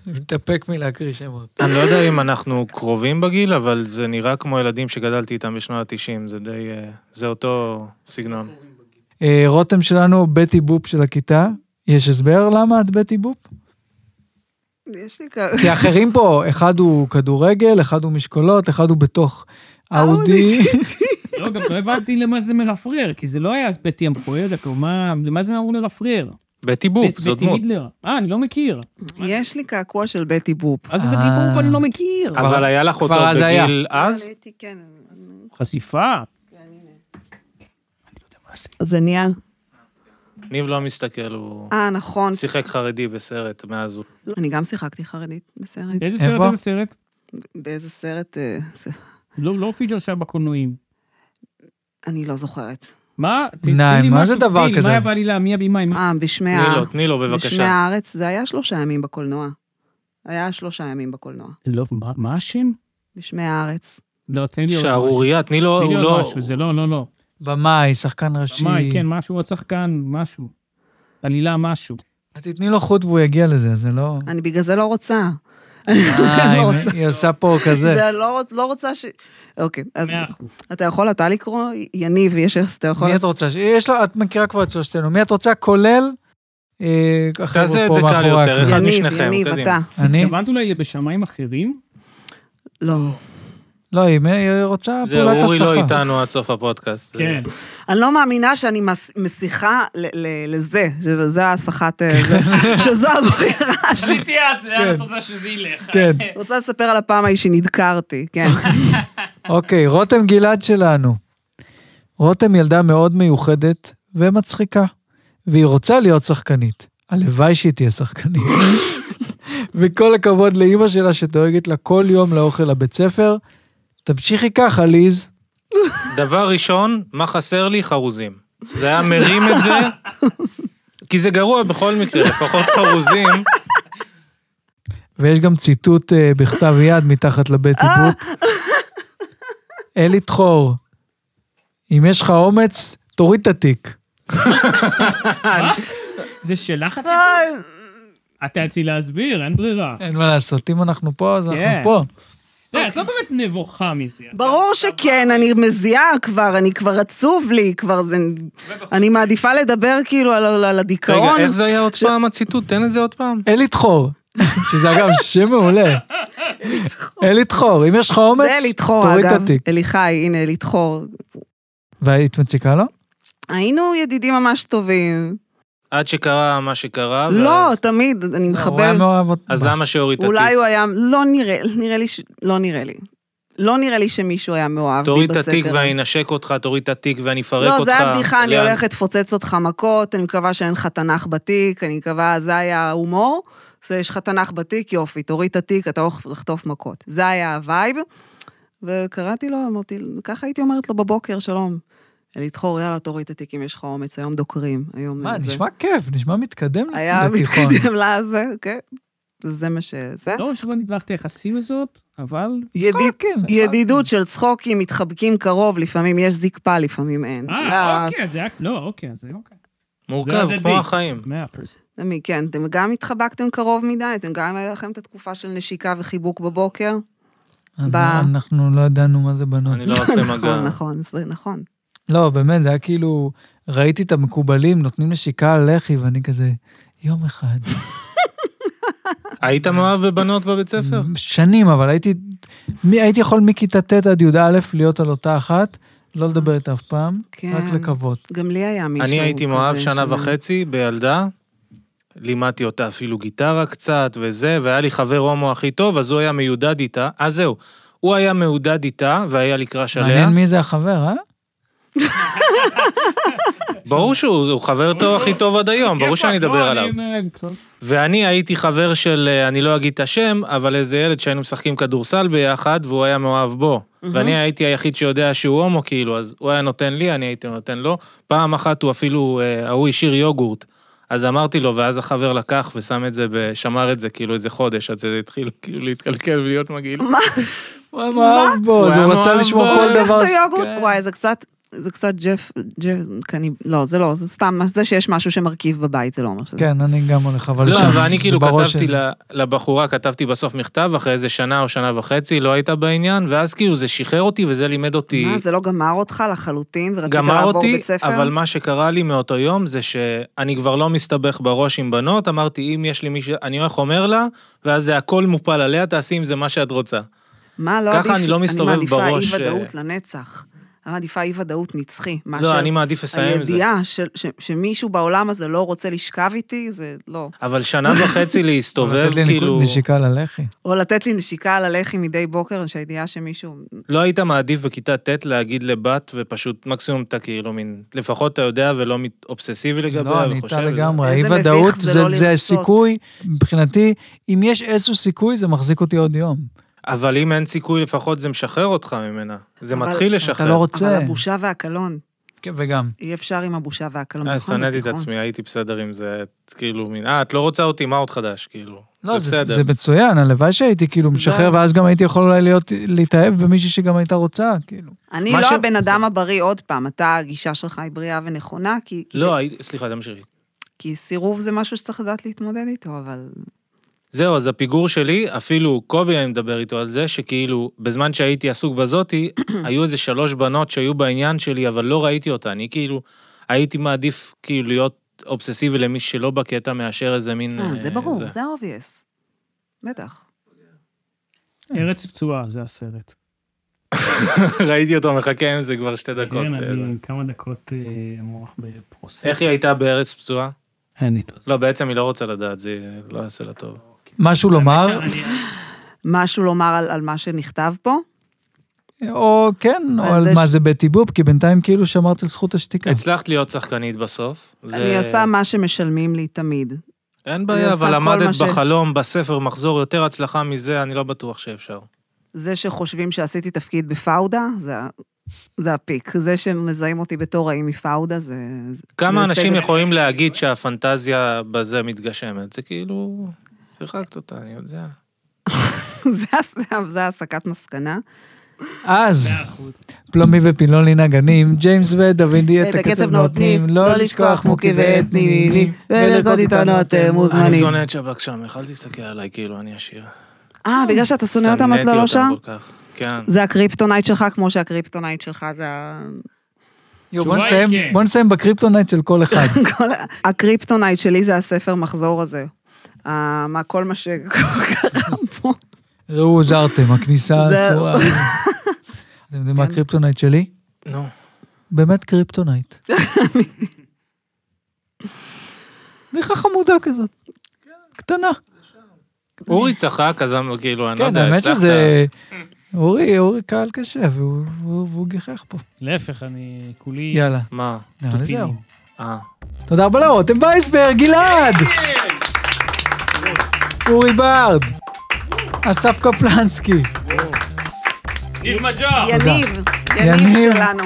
אני מתאפק מלהקריא שמות. אני לא יודע אם אנחנו קרובים בגיל, אבל זה נראה כמו ילדים שגדלתי איתם בשנות ה-90, זה די... אה, זה אותו סגנון. אה, רותם שלנו, בטי בופ של הכיתה. יש הסבר למה את בטי בופ? יש לי כ- כי האחרים פה, אחד הוא כדורגל, אחד הוא משקולות, אחד הוא בתוך אאודי. לא, גם לא הבנתי למה זה מרפרר, כי זה לא היה אז בטי המפוארת, או מה, למה זה אמור לרפרר? בטי בופ, זו בטי דמות. מידלר. אה, אני לא מכיר. יש לי קעקוע של בטי בופ. אז אה. זה בטי בופ אני לא מכיר. אבל היה לך אותו כבר אז היה. בגיל אז? הייתי, כן. חשיפה. זה נהיה... ניב לא מסתכל, הוא אה, נכון. שיחק חרדי בסרט מאז הוא... אני גם שיחקתי חרדית בסרט. איזה סרט, איפה? איזה סרט? באיזה סרט? אה, זה- לא, לא פיג'ר שהיה בקולנועים. אני לא זוכרת. מה? ת- תן די, לי מה משהו, זה דבר תן לי, כזה? מה היה בא לי להמיע בימי? מה- אה, בשמי תני ה... לו, תני לו בשמי לא, בבקשה. הארץ, זה היה שלושה ימים בקולנוע. היה שלושה ימים בקולנוע. לא, מה- מה השם? בשמי הארץ. לא, תן לי עוד משהו. שערורייה, תני לו, תן לי הוא עוד לא... משהו, זה לא, לא, לא. במאי, שחקן ראשי. מה, כן, משהו, עוד שחקן, משהו. עלילה, משהו. את תתני לו חוט והוא יגיע לזה, זה לא... אני בגלל זה לא רוצה. אה, לא היא- היא עושה פה כזה. זה לא רוצ- לא רוצה ש... אוקיי, אז מאה אחוז. אתה יכול אתה לקרוא? יניב, יש לך, אתה יכול... מי את רוצה? ש- יש לה, את מכירה כבר את שלושתנו. מי את רוצה? כולל? אה, החבר'ה תעשה את פה זה קל מאחורי יותר, הקלעים. אחד יניב, משניכם, יניב, קדימה. אתה. אני? התכוונת אולי בשמיים אחרים? לא. לא, היא היא רוצה זהו, פעולת השכר. אורי לא איתנו עד סוף הפודקאסט. כן. אני לא מאמינה שאני מס- מסיכה ל- ל- לזה, שזה הסחת... אה, זה- שזו הבחירה שלי. תחליטי את, לאן את רוצה שזה ילך. כן. רוצה לספר על הפעם ההיא שנדקרתי, כן. אוקיי, רותם גלעד שלנו. רותם ילדה מאוד מיוחדת ומצחיקה, והיא רוצה להיות שחקנית. הלוואי שהיא תהיה שחקנית. וכל הכבוד לאימא שלה שדואגת לה כל יום לאוכל לבית ספר. תמשיכי ככה, ליז. דבר ראשון, מה חסר לי? חרוזים. זה היה מרים את זה, כי זה גרוע בכל מקרה, לפחות חרוזים. ויש גם ציטוט אה, בכתב יד מתחת לבית איבוק. אלי דחור, אם יש לך אומץ, תוריד את התיק. זה שלך הציטוט? אה, את תיאלצי להסביר, אין ברירה. אוקיי. אין מה לעשות, אם אנחנו פה, אז אנחנו כן. פה. לא, את לא באמת נבוכה מזה. אה? ברור שכן, אני מזיעה כבר, אני כבר עצוב לי, כבר זה... אני מעדיפה לדבר כאילו על- על על רגע, הדיכאון. איך זה היה עוד פעם הציטוט? תן את זה עוד פעם. אלי דחור, שזה אגב שם מעולה. אלי דחור, אם יש לך אומץ, זה אלי דחור, תוריד את אגב. התיק. אליחי, הנה אלי דחור. והיית מציקה לו? היינו ידידים ממש טובים. עד שקרה מה שקרה. לא, ואז- תמיד, אני הוא היה מחבר. מאוהב אותך. אז למה שהוריד את התיק? אולי הוא היה... לא נראה, נראה לי ש... לא נראה לי. לא נראה לי שמישהו היה מאוהב בי תוריד בסקר. את התיק ואני אנשק אותך, תוריד את התיק ואני אפרק אותך. לא, זה היה בדיחה, אני לאן? הולכת לפוצץ אותך מכות, אני מקווה שאין לך תנ"ך בתיק, אני מקווה, זה היה ההומור. זה, יש לך תנ"ך בתיק, יופי, תוריד את התיק, אתה הולך לחטוף מכות. זה היה הווייב. וקראתי לו, אמרתי, ככה הייתי אומרת לו בבוקר, שלום. לדחור, יאללה, תוריד את התיק אם יש לך אומץ, היום דוקרים, היום מה, זה. נשמע לא כיף, נשמע מתקדם היה לתיכון. מתקדם לזה, כן. זה מה שזה. לא משהו במטבחת היחסים הזאת, אבל... ידיד, צחוקים, ידידות של צחוקים, מתחבקים קרוב, לפעמים יש זקפה, לפעמים אין. אה, אה, אוקיי, זה היה... לא, אוקיי, זה אוקיי. מורכב, זה הדדי. כמו החיים. 100%. כן, אתם גם התחבקתם קרוב מדי, אתם גם היה לכם את התקופה של נשיקה וחיבוק בבוקר. אז ב- אנחנו לא ידענו מה זה בנות. אני לא עושה מגע. נכון, נכון, זה נכון. לא, באמת, זה היה כאילו, ראיתי את המקובלים נותנים נשיקה על לחי, ואני כזה, יום אחד. היית מאוהב בבנות בבית ספר? שנים, אבל הייתי, מי- הייתי יכול מכיתה ט' עד י"א להיות על אותה אחת, לא לדבר איתה אף פעם, כן. רק לקוות. גם לי היה מישהו אני הייתי כזה מאוהב שנה ש- וחצי בילדה. לימדתי אותה אפילו גיטרה קצת וזה, והיה לי חבר הומו הכי טוב, אז הוא היה מיודד איתה. אז זהו, הוא היה מיודד איתה, והיה לי קראש עליה. מעניין מי זה החבר, אה? ברור שהוא הוא חבר טוב הכי טוב עד היום, ברור שאני אדבר עליו. ואני הייתי חבר של, אה, אני לא אגיד את השם, אבל איזה ילד שהיינו משחקים כדורסל ביחד, והוא היה מאוהב בו. ואני הייתי היחיד שיודע שהוא הומו, כאילו, אז הוא היה נותן לי, אני הייתי נותן לו. פעם אחת הוא אפילו, אה, ההוא השאיר יוגורט. אז אמרתי לו, ואז החבר לקח ושם את זה, ב- שמר את זה כאילו איזה חודש, עד שזה התחיל כאילו להתקלקל ולהיות מגעיל. הוא היה מאוהב בו, הוא אז היה הוא רצה מאוהב לשמור בו. כל איך דבר. את היוגורט? כן. וואי, זה קצת... זה קצת ג'ף, ג'ף, קני, לא, זה לא, זה סתם, מה- זה שיש משהו שמרכיב בבית, זה לא אומר שזה. כן, אני גם הולך, אבל... לא, שם, אבל אני זה כאילו בראש כתבתי שלי. ל- לבחורה, כתבתי בסוף מכתב, אחרי איזה שנה או שנה וחצי, לא הייתה בעניין, ואז כאילו זה שחרר אותי וזה לימד אותי. מה, זה לא גמר אותך לחלוטין, ורצית כן. גמר לעבור אותי, בית ספר? אבל מה שקרה לי מאותו יום זה שאני כבר לא מסתבך בראש עם בנות, אמרתי, אם יש לי מישהו, אני הולך אומר לה, ואז זה הכל מופל עליה, תעשי עם זה מה שאת רוצה. מה, לא ככה עדיף- אני לא מסתובב אני בראש, מעדיפה אה, אי-ודאות לנצח. אני מעדיפה אי-ודאות נצחי. מאשר לא, אני מעדיף לסיים עם זה. הידיעה של- ש- שמישהו בעולם הזה לא רוצה לשכב איתי, זה לא. אבל שנה וחצי להסתובב, לתת לי כאילו, ניקוד- נשיקה ללחי. או לתת לי נשיקה על הלחי מדי בוקר, שהידיעה שמישהו... לא היית מעדיף בכיתה ט' להגיד לבת, ופשוט מקסימום אתה כאילו מין, לפחות אתה יודע ולא מת- אובססיבי לגביה, לא, אני וחושב איתה על זה. לגמרי. איזה אי מביך ודאות זה זה לא זה לרצות. סיכוי, מבחינתי, אם יש איזשהו סיכוי, זה מחזיק אותי עוד יום. אבל אם אין סיכוי, לפחות זה משחרר אותך ממנה. זה אבל- מתחיל אתה לא לשחרר. רוצה. אבל הבושה והקלון, כן, וגם. אי אפשר עם הבושה והקלון. אה, נכון, שנאתי את בתיכון. עצמי, הייתי בסדר עם זה, כאילו, מין, אה, את לא רוצה אותי, מה עוד חדש, כאילו. לא, זה, בסדר. זה מצוין, הלוואי שהייתי כאילו משחרר, ואז גם הייתי יכול אולי להיות, להתאהב במישהי שגם הייתה רוצה, כאילו. אני מה לא ש- הבן אדם הבריא, עוד פעם, אתה, הגישה שלך היא בריאה ונכונה, כי... כי- לא, הי- סליחה, תמשיכי. כי סירוב זה משהו שצריך לדעת להתמודד איתו, אבל... זהו, אז הפיגור שלי, אפילו קובי היה מדבר איתו על זה, שכאילו, בזמן שהייתי עסוק בזאתי, היו איזה שלוש בנות שהיו בעניין שלי, אבל לא ראיתי אותה. אני כאילו, הייתי מעדיף כאילו להיות אובססיבי למי שלא אה, בקטע, מאשר איזה מין... אה, זה אה, ברור, זה obvious. בטח. אה. ארץ פצועה, זה הסרט. ראיתי אותו מחכה עם זה כבר שתי דקות. אה, כן, אני כמה דקות אה, המוח בפרוסס. איך היא הייתה בארץ פצועה? אין לי תוצאה. לא, בעצם היא לא רוצה לדעת, זה לא יעשה לה טוב. משהו לומר, משהו לומר על, על מה שנכתב פה? או כן, או אז על יש- מה זה בטיבוב, כי בינתיים כאילו שמרת על זכות השתיקה. כן. הצלחת להיות שחקנית בסוף. זה- אני עושה מה שמשלמים לי תמיד. אין אני בעיה, עושה כל אבל מה למדת ש- בחלום, בספר, מחזור, יותר הצלחה מזה, אני לא בטוח שאפשר. זה שחושבים שעשיתי תפקיד בפאודה, זה, ה- זה הפיק. זה שמזהים אותי בתור האם מפאודה, זה... זה- כמה זה אנשים הישג- יכולים להגיד שהפנטזיה בזה מתגשמת? זה כאילו... שיחקת אותה, אני יודע. זה ה- זה הסקת מסקנה. אז, פלומי ופילוני נגנים, ג'יימס ודוידי את הקצב נותנים, לא לשכוח מוקי ואת נימינים, ולרקוד איתנו אתם אני מוזמנים. שונא את שב"כ שם, אל תסתכל עליי כאילו אני עשיר. אה, בגלל שאתה שונא אותם את לא לא שם? כן. זה הקריפטונייט שלך, כמו שהקריפטונייט שלך זה ה... יו, בוא התשובה היא נסיים- כן. בוא נסיים בקריפטונייט של כל אחד. כל ה- הקריפטונייט שלי זה הספר מחזור הזה. ה- מה, כל מה שקרה פה. ראו, הוזהרתם, הכניסה זהו. אסורה. אתם יודעים מה הקריפטונייט שלי? נו. באמת קריפטונייט. בדיחה חמודה כזאת. קטנה. אורי צחק, אז אמר, כאילו, אני לא כן, יודע, האמת הצלחת. שזה... אורי, אורי קהל קשה, והוא- והוא והוא גיחך פה. להפך, אני כולי... יאללה, מה? נראה לי תופיני. זהו. אה. תודה רבה לרותם וייסברג, גלעד! אורי ברד! אסף קפלנסקי, ניב מג'ור! יניב, יניב יניב. שלנו.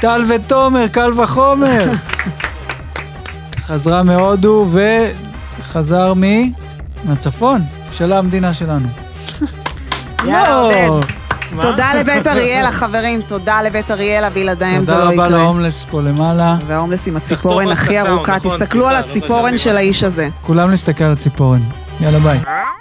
טל ותומר, קל וחומר. חזרה מהודו וחזר מ... מהצפון, של המדינה שלנו. יאללה, לא. עודד. תודה לבית אריאלה, חברים, תודה לבית אריאלה, בלעדיהם זה תודה לא רבה יקרה. להומלס פה למעלה. וההומלס עם תחתוך הציפורן רק את הכי הסאונד, ארוכה, נכון, תסתכלו סליחה, על לא הציפורן בגלל של האיש הזה. כולם להסתכל על הציפורן. יאללה ביי.